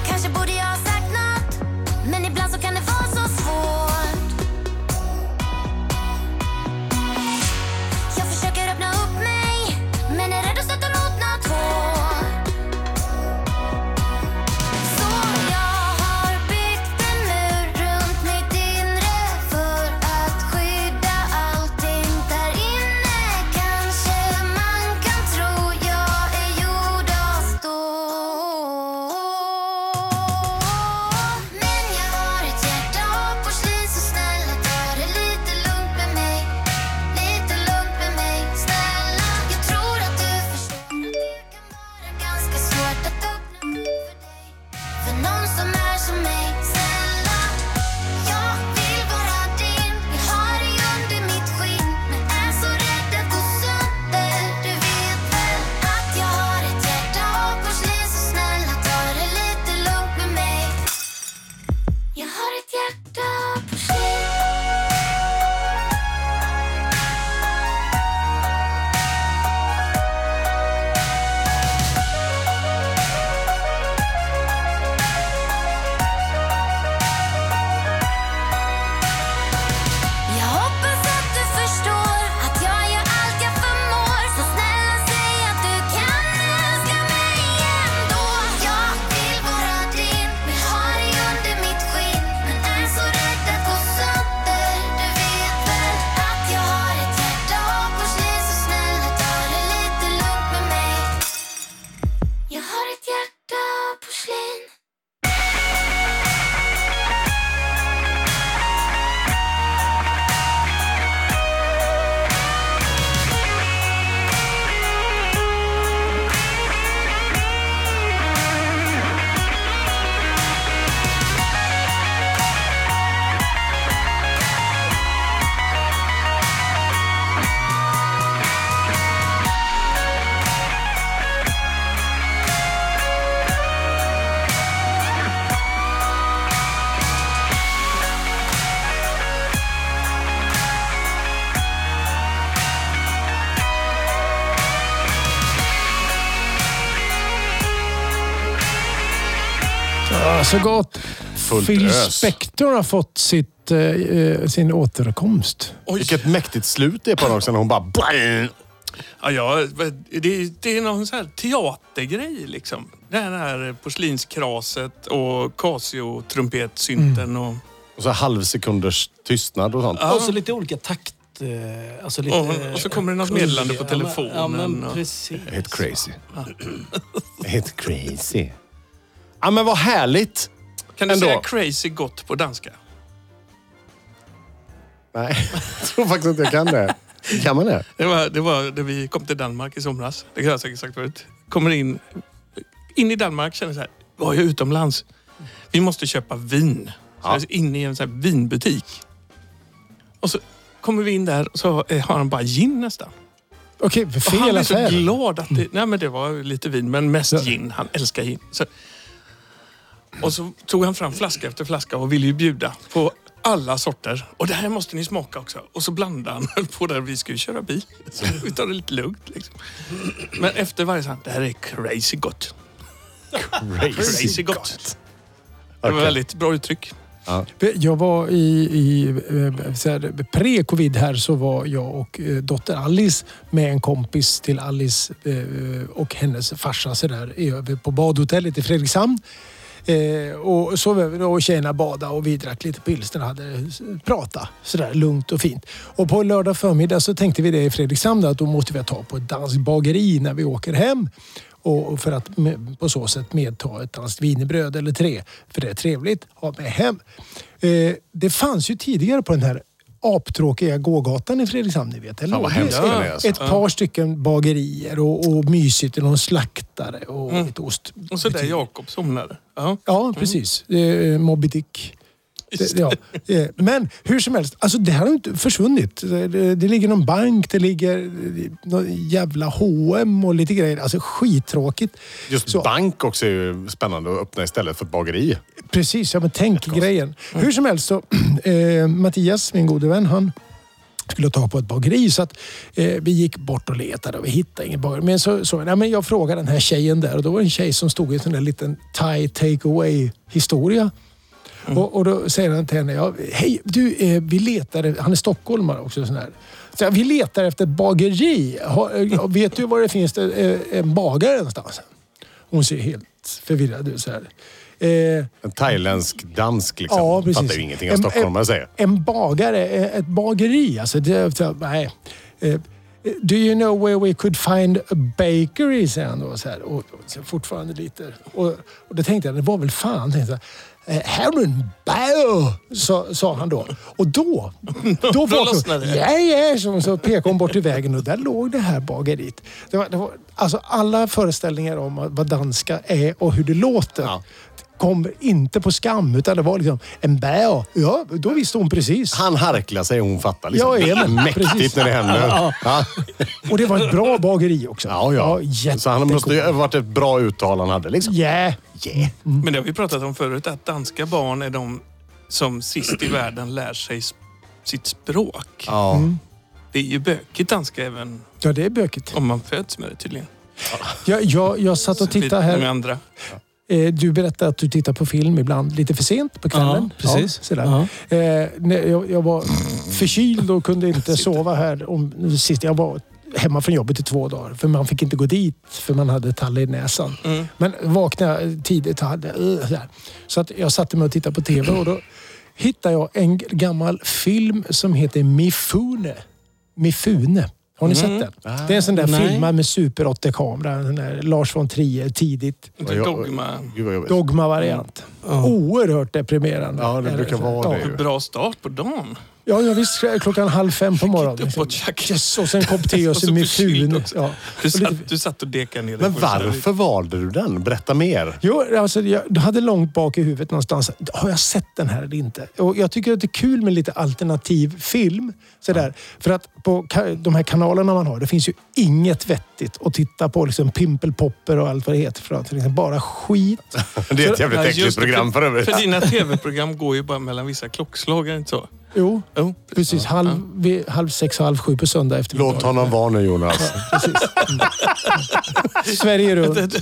S5: Kanske borde jag ha sagt något Men ibland så kan det vara så svårt Jag försöker öppna upp mig Men är rädd att stöta mot något hårt Så jag har byggt en mur runt mitt inre För att skydda allting där inne Kanske man kan tro jag är gjord av stål Men jag har ett hjärta av porslin Så snälla ta det lite lugnt med mig Lite lugnt med mig, snälla Jag tror att du förstår att det kan vara ganska svårt att öppna upp för dig För någon som är som mig, snälla Jag vill vara din, vill ha dig under mitt skinn Men är så rädd att gå sönder Du vet väl att jag har ett hjärta av porslin Så snälla ta det lite lugnt med mig Jag har ett hjärta av porslin Jag hoppas att du förstår att jag gör allt jag förmår Så snälla säg att du kan älska mig ändå Jag vill vara din, vill ha dig under mitt skinn Men är så rädd att gå sönder Du vet väl att jag har ett hjärta av porslin Så snälla ta det lite lugnt med mig Jag har ett hjärta av porslin
S4: Ja, så Alltså, gott.
S2: Fullt
S4: Phil
S2: ös.
S4: Spector har fått sitt, eh, eh, sin återkomst.
S1: Oj.
S2: Vilket mäktigt slut det är på den också när hon bara... Bang!
S1: Ja, ja, det, det är någon så här teatergrej liksom. Det här- det här porslinskraset och Casio-trumpetsynten.
S3: Mm.
S1: Och,
S2: Och så halvsekunders tystnad och sånt.
S3: Och så Alltså, lite olika takt... eh, Alltså lite,
S1: Och- och så kommer det något meddelande på telefonen
S3: Ja, men, ja,
S1: och-
S3: men precis.
S2: Helt crazy. Helt crazy. Ja, men vad härligt!
S1: kan du
S2: Ändå.
S1: säga crazy gott på danska?
S2: Nej, jag tror faktiskt inte jag kan det. Kan man det?
S1: Det var, det var när vi kom till Danmark i somras. Det kan jag säkert sagt förut. Kommer in, in i Danmark känner så här, var jag utomlands? Vi måste köpa vin. Så
S2: Ja.
S1: jag är inne i en så här vinbutik. Och så kommer vi in där och så har har han bara gin nästan.
S4: Okej,
S1: Och han
S4: fel
S1: blev så
S4: affär.
S1: glad att det... Nej, men det var lite vin, men mest gin. Han älskar gin. Så, och så tog han fram flaska efter flaska och ville ju bjuda på alla sorter. Och det här måste ni smaka också. Och så blandade han [laughs] höll på där. Vi ska ju köra bil. Så vi tar det lite lugnt. Liksom. Men efter varje sa han, det här är crazy gott. Crazy gott. Det var
S2: Okej.
S1: väldigt bra uttryck.
S4: Jag var i, i eh, så här, pre-covid här så var jag och eh, dotter Alice med en kompis till Alice eh, och hennes farsa så där, över på badhotellet i Fredrikshamn. Eh, och sov över och tjejerna badade och vi drack lite pilsner och hade prata sådär lugnt och fint. Och på lördag förmiddag så tänkte vi det i Fredrikshamn att då måste vi ta på ett danskt bageri när vi åker hem. Och för att med- på så sätt medta ett danskt wienerbröd eller tre. För det är trevligt att ha med hem. Eh, det fanns ju tidigare på den här aptråkiga gågatan i Fredrikshamn, ni vet. Eller?
S2: Fan, vad hemskt
S4: Det-
S2: den är, alltså.
S4: Ett par stycken bagerier och, och mysigt. och Någon slaktare och
S2: Mm.
S4: lite ost.
S1: Och så där Jakob somnade. Ja.
S4: Ja, precis. Eh, Moby Dick.
S1: Just
S4: Det- Ja. Eh, Men hur som helst, alltså det här har inte försvunnit. Det, det ligger någon bank, det ligger eh, någon jävla H&M och lite grejer. Alltså skittråkigt.
S2: Just
S4: Så-
S2: bank också är ju spännande att öppna istället för ett bageri.
S4: Precis, ja men tänk grejen. Hur som helst så, [clears throat] eh, Mattias, min gode vän, han skulle ta på ett bageri. Så att, eh, vi gick bort och letade och vi hittade ingen bageri. Men, så, så, nej, men jag frågade den här tjejen där och då var det en tjej som stod i en sån där liten thai takeaway historia. Och, och då säger han till henne, ja, hej du, eh, vi letar, han är stockholmare också. Sån här. Så, jag, vi letar efter ett bageri. Har, eh, vet du var det finns det, eh, en bagare någonstans? Hon ser helt förvirrad ut så här. Eh,
S2: En thailändsk dansk liksom.
S4: Ja, precis.
S2: Fattar ju ingenting av
S4: En-
S2: stockholmare säger.
S4: en bagare, eh, ett bageri. Alltså, det, så, nej. Eh, Do you know where we could find a bakery? säger han då. Så här. Och, och, så fortfarande lite... Och, och då tänkte jag, det var väl fan. Tänkte jag, Eh, Herren Bauer, sa, sa han då.
S1: [laughs]
S4: Och då... Då, då
S1: lossnade det.
S4: Ja, ja, så, så pekade hon bort i vägen och där låg det här bageriet. Det var, det var, alltså alla föreställningar om vad danska är och hur det låter kom inte på skam, utan det var liksom en bär. Ja, då visste hon precis.
S2: Han harklar sig och hon fattar. Liksom.
S4: Ja, jajamän.
S2: Mäktigt
S4: Precis.
S2: när det händer. Ja,
S4: Och det var ett bra bageri också.
S2: ja. ja.
S4: jättegod.
S2: så han måste ju ha varit ett bra uttal han hade. Liksom.
S4: Yeah.
S2: Yeah.
S1: Men det har vi pratat om förut, att danska barn är de som sist i världen lär sig s- sitt språk.
S2: Ja.
S1: Det är ju bökigt danska även
S4: Ja, det är bökigt.
S1: om man föds med det tydligen.
S4: Jag, jag, jag satt och tittade
S1: Lite
S4: här.
S1: Med andra.
S4: Eh, Du berättade att du tittar på film ibland lite för sent på kvällen.
S3: Ja, precis.
S4: sådär.
S3: Ja.
S4: Eh, nej, jag, jag var förkyld och kunde inte sova här. Om, sist jag var hemma från jobbet i två dagar. För man fick inte gå dit för man hade tall i näsan.
S3: Mm.
S4: Men vaknade jag tidigt och hade... eh, sådär. Så att jag satte mig och tittade på TV och då hittade jag en gammal film som heter Mifune. Mifune. Har ni sett den? Det är en sån där
S3: Mm. Ah, Nej.
S4: filmad med Super 8-kamera. en sån där Lars von Trier tidigt.
S1: Inte
S2: jag-
S1: dogma.
S2: Gud vad jobbigt.
S4: Dogma-variant. Oerhört deprimerande.
S2: Ja, det brukar vara det
S4: Ja,
S2: ju.
S1: Bra start på dagen.
S4: ja, ja visst. Klockan halv fem på morgonen. Liksom.
S1: Uppåt käken.
S4: Yes, och sen en
S2: [laughs]
S4: kopp te och
S1: Och
S4: så
S1: så
S4: med
S1: förkyld
S4: fun.
S1: också.
S4: Ja.
S1: Du
S4: Och lite-
S1: satt, du satt och dekade ner dig
S2: Men
S1: på det.
S2: varför valde du den? Berätta mer.
S4: Jo, alltså, jag hade långt bak i huvudet någonstans. Har jag sett den här eller inte? Och jag tycker att det är kul med lite alternativ film. Sådär. För att på ka- de här kanalerna man har, det finns ju inget vettigt att titta på. Liksom pimpelpopper och allt vad det heter. För att, liksom, bara skit.
S2: Det är ett jävligt
S1: Nej,
S2: äckligt
S1: just det,
S2: program för övrigt.
S1: För dina tv-program går ju bara mellan vissa klockslag, är det inte så?
S4: Jo,
S1: Jo.
S4: precis. Halv, vid, halv sex och halv sju på söndag eftermiddag.
S2: Låt honom vara nu Jonas.
S4: Sverige runt.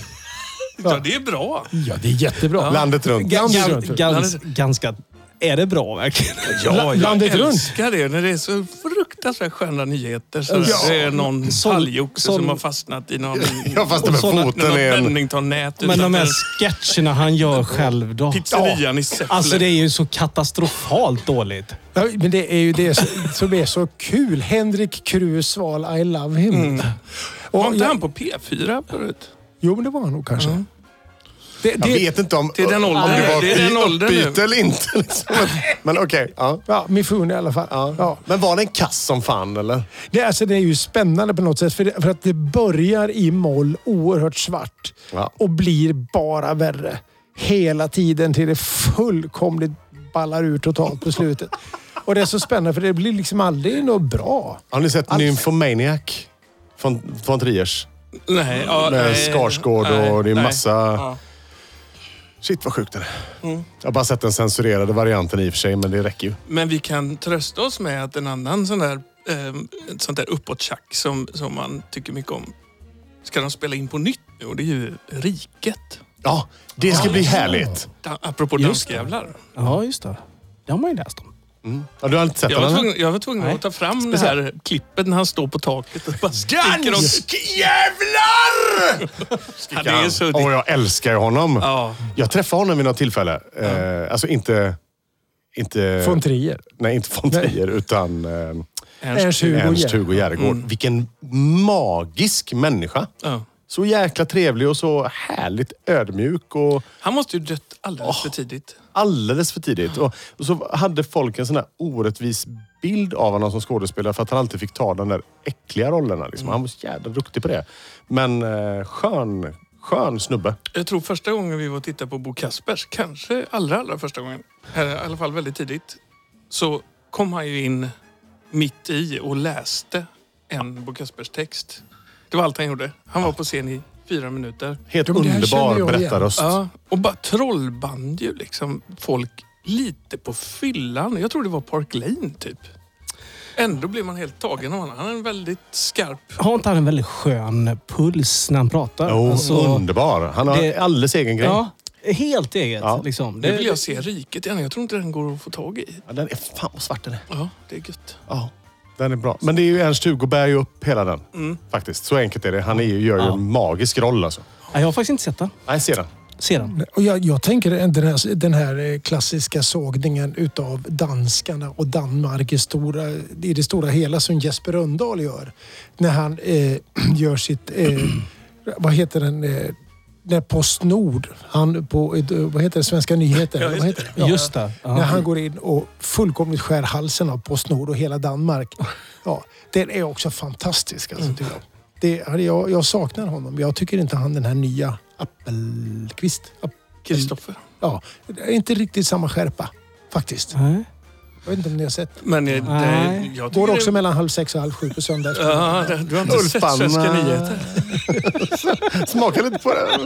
S1: Ja, det är bra.
S4: Ja, det är jättebra.
S2: Landet runt.
S4: Landet
S3: Gan,
S4: runt.
S3: gans, ganska... Är det bra verkligen?
S1: Ja, jag
S4: landet runt.
S1: älskar det när det är så fruktansvärt sköna nyheter. Så
S3: Ja.
S1: Det är någon
S3: Sån-
S1: talgoxe
S3: sån-
S1: som har fastnat i
S2: [laughs]
S1: någon...
S2: Ja, fast det med
S3: Och såna-
S1: När
S2: foten
S1: någon
S2: är en...
S1: vändning tar nät
S3: Men de här
S1: utanför
S3: sketcherna han gör själv då?
S1: pizzerian i Säffle.
S3: Alltså det är ju så katastrofalt dåligt.
S4: Ja, men det är ju det som- som är så kul. Henrik Kruse sval I love him. Och
S1: Var inte
S4: jag-
S1: han på P4 förut?
S4: Jo, men det var han nog kanske. Det,
S2: Jag
S4: det,
S2: vet inte om,
S1: Det är den åldern.
S2: om det
S1: Nej,
S2: var
S1: det är den
S2: ett
S1: åldern nu.
S2: uppbyte eller inte. [laughs] Liksom. Men okej. ja.
S4: ja, Mifune i alla fall.
S2: Ja.
S4: Ja.
S2: Men var den kass som fan eller?
S4: Det, alltså, det är ju spännande på något sätt för, det, för att det börjar i moll oerhört svart
S2: Ja.
S4: och blir bara värre. Hela tiden till det fullkomligt ballar ur totalt på slutet. och det är så spännande för det blir liksom aldrig något bra.
S2: Har ni sett Nymphomaniac? von, von Triers.
S1: Nej, ja,
S2: Med
S1: nej,
S2: Skarsgård och
S1: nej,
S2: det är
S1: nej.
S2: massa-
S1: Ja. Mm.
S2: Shit vad sjukt det är. Jag har bara sett den censurerade varianten i och för sig, men det räcker ju.
S1: Men vi kan trösta oss med att en annan sån där, eh, ett sånt där uppåttjack som, som man tycker mycket om ska de spela in på nytt nu och det är ju Riket.
S2: Ja, det ska bli härligt.
S1: Da, apropå
S3: Just
S1: danskjävlar.
S3: Ja, just det. Det har man ju läst om.
S2: Ja, du har inte sett
S1: Jag
S2: den?
S1: var
S2: eller?
S1: tvungen, jag var tvungen att ta fram det här klippet när han står på taket och bara skriker och...
S2: Danskjävlar!
S1: Ja, det är så...
S2: Åh, jag älskar ju honom.
S1: Ja.
S2: Jag träffade honom vid något tillfälle. Eh, alltså inte... Inte...
S4: Från Trier.
S2: Nej, inte von
S4: Nej. Mm.
S2: Trier, utan eh,
S4: Ernst-Hugo
S2: Ernst-Hugo Järegård. Vilken magisk människa.
S1: Ja.
S2: Så jäkla trevlig och så härligt ödmjuk och
S1: Han måste ju dött alldeles för tidigt.
S2: alldeles för tidigt. Och, och så hade folk en sån här orättvis bild av honom som skådespelare för att han alltid fick ta de där äckliga rollerna. Liksom. Han var så jävla duktig på det. Men eh, skön, skön snubbe.
S1: Jag tror första gången vi var och tittade på Bo Kaspers, kanske allra, allra första gången, eller i alla fall väldigt tidigt, så kom han ju in mitt i och läste en Bo Kaspers text. Det var allt han gjorde. Han var på scen i fyra minuter.
S2: Helt
S4: Jo, men det här känner
S2: underbar
S4: jag igen.
S2: berättarröst.
S1: Ja, och bara trollband ju liksom folk lite på fyllan. Jag tror det var Park Lane typ. Ändå blir man helt tagen av honom. Han är en väldigt skarp...
S3: Har inte han en väldigt skön puls när han pratar?
S2: Jo,
S3: Alltså,
S2: Oh, underbar. Han har
S3: det-
S2: alldeles egen grej.
S3: ja, helt eget.
S2: Ja.
S3: Liksom.
S1: Nu vill jag se Riket igen. Jag tror inte den går att få tag i.
S2: Ja, Den är, fan vad svart den är.
S1: Ja, det är gött.
S2: Ja, den är bra. Men det är ju Ernst-Hugo bär ju upp hela den. Faktiskt. Så enkelt är det. Han är, ju- gör ju
S3: Ja.
S2: en magisk roll alltså.
S3: Nej, jag har faktiskt inte sett den.
S2: Nej, se den.
S3: Ser den.
S4: Och jag, jag tänker den här, den här eh, klassiska sågningen utav danskarna och Danmark i, stora, i det stora hela som Jesper Rönndahl gör. När han eh, [clears throat] gör sitt, eh, vad heter den, eh, när Postnord, han på, eh, vad heter det, Svenska nyheter?
S1: Ja,
S4: eller vad
S1: just
S4: heter det?
S3: Just det. Ja.
S4: När han går in och fullkomligt skär halsen av Postnord och hela Danmark. Ja, den är också fantastisk. Alltså, tycker jag. Det, hade jag, jag saknar honom. Jag tycker inte han den här nya Appelqvist. App,
S1: Kristoffer.
S4: ja, det är inte riktigt samma skärpa faktiskt.
S3: Nej.
S4: Jag vet inte om ni har sett.
S1: Men eh, det,
S3: Nej.
S1: jag tycker
S4: Går också
S1: det-
S4: mellan halv sex och halv sju på söndag eftermiddag.
S1: Ja, det- du har inte
S2: Ulf
S1: sett
S2: Palme.
S1: Svenska nyheter.
S2: [laughs] Smaka lite på den.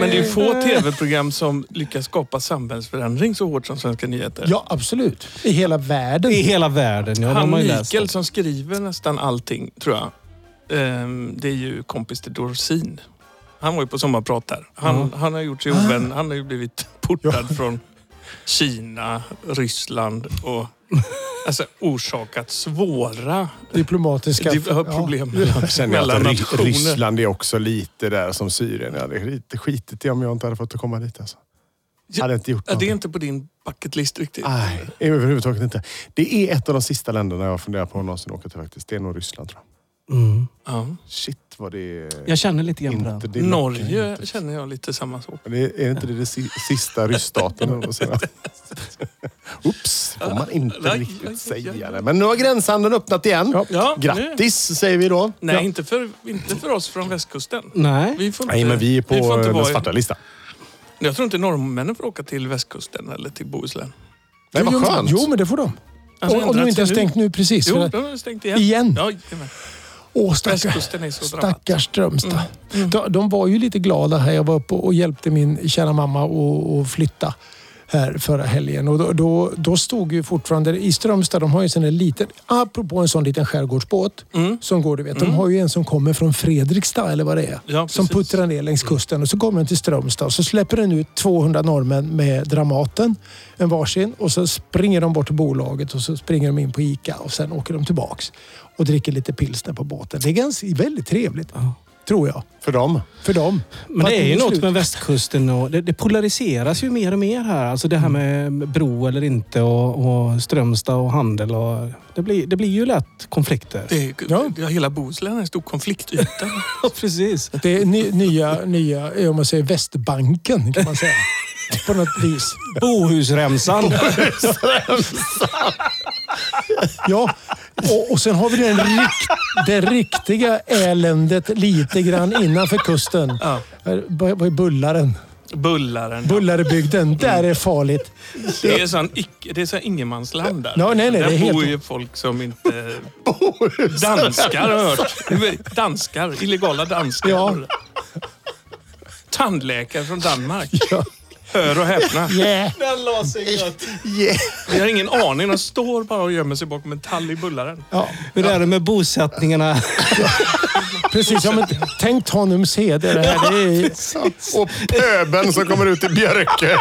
S1: Men det är få tv-program som lyckas skapa samhällsförändring så hårt som Svenska nyheter.
S4: Ja, absolut. I hela världen.
S3: I hela världen. Ja, de
S1: Han
S3: har ju läst
S1: Mikael
S3: den.
S1: som skriver nästan allting, tror jag. Ehm, Det är ju kompis till Dorsin. Han var ju på sommarprat där. Han, han har gjort sig ovän. Han har ju blivit portad från Kina, Ryssland och alltså, orsakat svåra
S4: Diplomatiska...
S1: div-
S4: Ja.
S1: problem
S2: Jag känner
S1: mellan
S2: att Ry-
S1: nationer.
S2: Ryssland är också lite där som Syrien. Jag hade lite skitit i om jag inte hade fått komma dit. Alltså. Jag hade inte gjort
S1: Ja, det
S2: någonting.
S1: är inte på din bucket list riktigt.
S2: Nej, överhuvudtaget inte. Det är ett av de sista länderna jag funderar på att någonsin åka till faktiskt. Det är nog Ryssland tror jag.
S3: Mm.
S1: Ja.
S2: Shit vad det är...
S3: Jag känner lite grann på
S2: Inte
S3: den.
S2: det
S1: Norge känner jag lite samma sak.
S2: Men det- är inte det, det si- sista ryssstaten? eller vad säger man? [laughs] Oops, får man inte
S1: Nej, nej,
S2: riktigt säga
S1: nej.
S2: det. Men nu har gränshandeln öppnat igen.
S1: Ja, nu-
S2: Grattis säger vi då.
S1: Nej,
S2: Ja.
S1: inte, för, inte för oss från västkusten.
S3: Nej.
S1: Vi får inte,
S2: Nej, men vi är på
S1: vi får inte
S2: den
S1: vara i-
S2: svarta listan.
S1: Jag tror inte norrmännen får åka till västkusten eller till Bohuslän.
S2: Nej, vad
S4: jo,
S2: skönt.
S4: Jo, men det får de.
S1: Alltså,
S4: och, och
S1: ändrat
S4: de inte har
S1: sig
S4: stängt nu precis. för
S1: Jo,
S4: att-
S1: de har stängt igen.
S4: Igen?
S1: Ja, jajamän.
S4: Åh, stackars.
S1: Västkusten är så Mm. drabbad.
S4: Stackars Strömstad. Mm. De, de var ju lite glada här. Jag var uppe och hjälpte min kära mamma att att flytta här förra helgen. Och då, då, då stod ju fortfarande i Strömstad, de har ju en sån där liten, apropå en sån liten skärgårdsbåt
S1: Mm.
S4: som går, du vet. De har ju en som kommer från Fredrikstad eller vad det är.
S1: Ja,
S4: som
S1: precis.
S4: puttrar ner längs kusten och så kommer den till Strömstad och så släpper den ut 200 norrmän med Dramaten, en varsin. Och så springer de bort till bolaget och så springer de in på Ica och sen åker de tillbaks och dricker lite pilsner på båten. Det är ganska, väldigt trevligt, tror jag,
S2: För dem.
S4: för dem.
S3: Men det är ju något
S4: slut.
S3: med västkusten och det, det polariseras ju mer och mer här. Alltså det här
S2: Mm.
S3: med bro eller inte och, och Strömstad och handel. Och, det, blir, det blir ju lätt konflikter.
S1: Det är,
S4: Ja.
S1: ja. Hela Bohuslän är en stor konfliktyta.
S3: Ja, precis.
S4: Det är ny, nya, nya, eh, om man säger Västbanken kan man säga. På något vis.
S3: Bohusremsan.
S4: Ja, och, och sen har vi den rikt, det riktiga eländet lite grann innanför kusten.
S1: Ja.
S4: Här, Vad vad är Bullaren?
S1: Bullaren.
S4: Bullarebygden, där är farligt.
S1: Det är sån, icke, det är sån ingenmansland där.
S4: Ja, nej, nej,
S1: där
S4: det är helt-
S1: bor ju folk som inte... danskar har jag hört. Danskar. Illegala danskar.
S4: Ja.
S1: Tandläkare från Danmark. Hör och häpna.
S4: Yeah.
S1: Vi har ingen aning. De står bara och gömmer sig bakom en tall i bullaren.
S4: Ja,
S3: Hur är det med bosättningarna?
S4: precis. Ja, men, tänk Tanum C. Det är det här. Det är,
S2: Och pöben som kommer ut i Björke.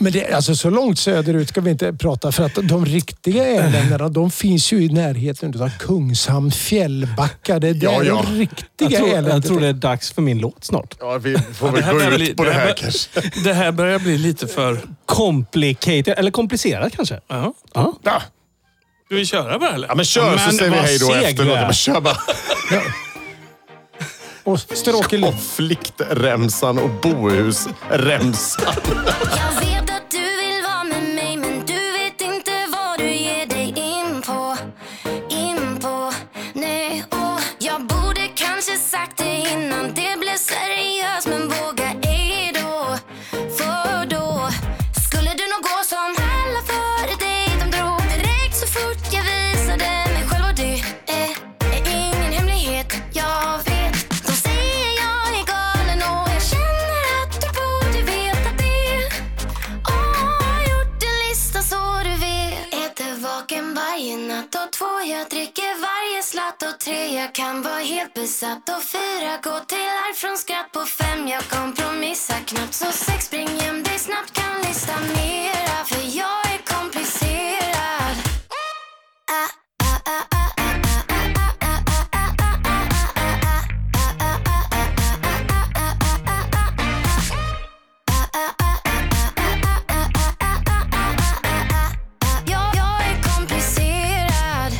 S4: Men det, alltså, så långt söderut ska vi inte prata för att de riktiga äländerna de finns ju i närheten av Kungshamn, Fjällbacka. Det är
S2: Ja,
S4: där
S2: ja.
S4: de
S3: Jag
S4: riktiga
S3: tror, jag
S4: eländet
S3: tror
S4: är.
S3: det är dags för min låt snart.
S2: Ja, vi
S1: [laughs]
S2: får
S1: Det
S2: väl
S1: här
S2: gå
S1: börjar bli-
S2: ut på det här
S1: bör-
S2: kanske.
S1: [laughs] Det här börjar bli lite för...
S3: Complicated, eller komplicerat kanske.
S1: Ja.
S3: Ja.
S2: Ja,
S1: Ska vi köra bara eller?
S2: Ja, men kör så
S3: Men
S2: säger vi
S3: vad
S2: hej då
S3: seg
S2: efteråt.
S3: du är.
S2: Men Kör bara.
S4: Och Stråkelid.
S2: Konfliktremsan och bohusremsan.
S5: Jag vet att du vill vara med mig men du vet inte vad du ger dig in på In på, nej och Jag borde kanske sagt det innan det blev seriöst men våga ej då För då skulle du nog gå som alla före dig de drog Direkt så fort jag visade mig själv och det är, är ingen hemlighet jag vet De säger jag är galen och jag känner att du borde veta det Åh, har gjort en lista så du vet Äter vaken varje natt och två jag dricker varje slatt och tre jag kan vara helt besatt och fyra går till arv från skratt på fem jag kompromissar knappt så sex spring hem dig snabbt kan lista mera för jag är komplicerad Ah, ah, ah, ah, ah, ah, ah, ah, ah, ah, Jag, jag är komplicerad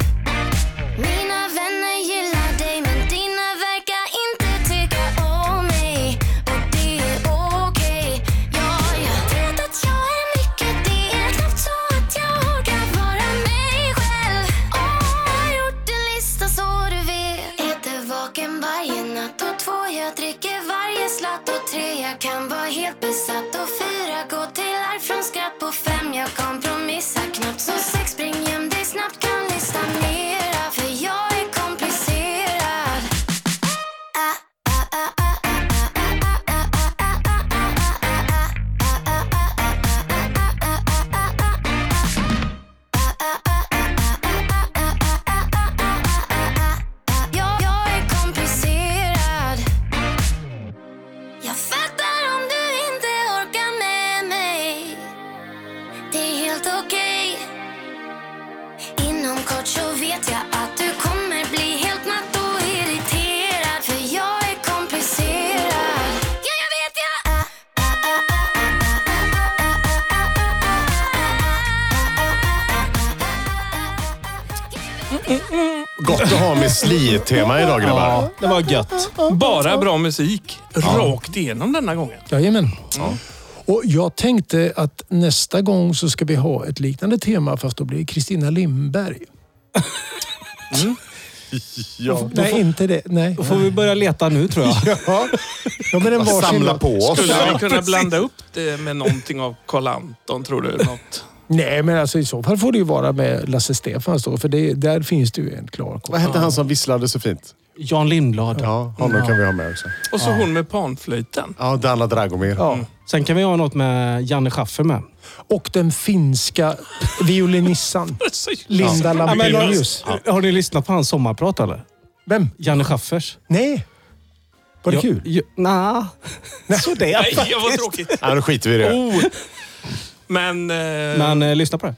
S5: Mina vänner gillar dig men dina verkar inte tycka om mig Och det är okej Ja, jag vet att jag är mycket Det är knappt så att jag orkar vara mig själv Åh, jag har gjort en lista så du vet Äter vaken varje natt och två jag dricker varje slatt och tre jag kan vara helt besatt och fyra går till arv från skratt på fem jag kompromissar knappt så sex spring hem dig snabbt kan lista mera för jag är komplicerad Ah, ah, ah, ah, ah, ah, ah, ah, ah, ah, ah, Jag, jag är komplicerad Jag fattar om du inte orkar med mig Det är helt okej Inom kort så vet jag att du kommer bli helt matt och irriterad För jag är komplicerad Ja, jag vet jag ah, ah, ah, ah,
S2: Gott att ha med sli-tema idag grabbar.
S3: Ja, det var gött.
S1: Bara bra musik. Rakt igenom denna gången.
S4: Jajamän. Och jag tänkte att nästa gång så ska vi ha ett liknande tema fast då blir det Kristina Lindberg.
S2: Ja.
S4: Nej, inte det. Nej.
S3: Då får vi börja leta nu tror jag.
S4: Ja. Ja, men en varsin
S2: Samla
S4: låt.
S2: på oss.
S1: Skulle vi kunna blanda upp det med någonting av Karl Anton, tror du? Något?
S4: Nej, men alltså, i så fall får det ju vara med Lasse Stefans då, för det, där finns det ju en klar koppling.
S2: Vad hette han som visslade så fint?
S3: Jan Lindblad.
S2: Ja, honom kan vi ha med också.
S1: Och så hon med panflöjten. [laughs]
S2: Ja, Dana Dragomir.
S4: Ja.
S3: Sen kan vi ha något med Janne Schaffer med.
S4: Och den finska
S1: [laughs]
S4: violinissan Linda
S1: Ja, men-
S4: Lampelius.
S3: Har ni lyssnat på hans sommarprat eller?
S4: Vem?
S3: Janne Schaffers.
S4: Nej. Var det
S3: Ja,
S4: kul?
S3: Ja, Nja. [laughs] Så det
S1: Nej,
S3: är
S1: vad tråkigt.
S2: Ja, då skiter vi i det.
S1: Oh. Men... Eh,
S3: Men eh, lyssna på det.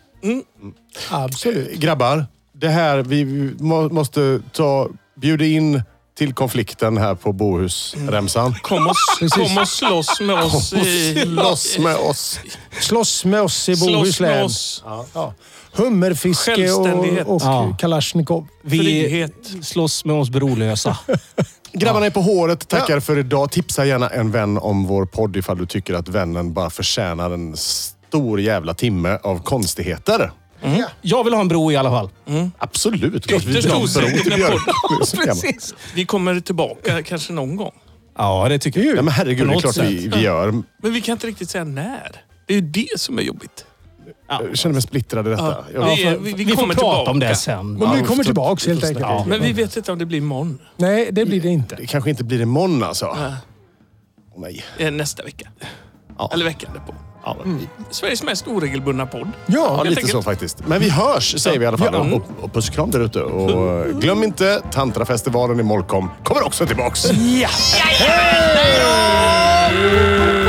S4: Absolut.
S2: Grabbar, det här, vi må, måste ta, bjuda in till konflikten här på Bohusremsan.
S1: Kom och, kom och slåss med oss i...
S2: Loss med oss.
S4: Slåss med oss i
S1: Slåss med
S4: Bohuslän.
S1: oss.
S4: Ja. Hummerfiske
S1: Självständighet.
S4: och, och
S3: Ja.
S4: Kalashnikov.
S3: Vi
S1: Frihet.
S3: slåss med oss brolösa.
S2: Grabbarna är på håret. Tackar för idag. Tipsa gärna en vän om vår podd ifall du tycker att vännen bara förtjänar en stor jävla timme av konstigheter.
S3: Jag vill ha en bro i alla fall.
S2: Absolut. Klart vi
S1: Ytterst
S2: drar en bro
S1: osäkert
S2: till
S1: när
S2: Björkö. Nu är det så jävla-
S1: Vi kommer tillbaka kanske någon gång.
S3: Ja, det tycker jag.
S2: Nej, men herregud,
S3: På
S2: det är
S3: något
S2: klart vi,
S3: sätt.
S2: vi gör.
S1: Men vi kan inte riktigt säga när. Det är ju det som är jobbigt.
S2: Jag känner mig splittrad i detta. Jag-
S1: vi, är-
S3: Ja,
S1: vi,
S3: vi,
S1: vi
S3: får
S1: kommer
S3: prata
S1: tillbaka.
S3: om det sen.
S4: Men vi kommer
S2: förstått.
S4: tillbaks helt enkelt.
S3: Ja.
S1: Men vi vet inte om det blir imorgon.
S4: Nej, det blir det inte.
S2: Det kanske inte blir imorgon alltså.
S1: Ja.
S2: Åh, nej.
S1: Eh, Nästa vecka.
S2: Ja.
S1: Eller veckan därpå.
S2: Ja,
S1: Sveriges mest oregelbundna podd.
S2: ja
S4: Ja,
S2: lite
S1: tänker-
S2: så faktiskt. Men vi hörs säger vi i alla fall.
S1: Ja.
S2: Och, och puss och kram där ute. Och eh, glöm inte Tantrafestivalen i Molkom. Kommer också tillbaks.
S4: ja.
S2: Hej!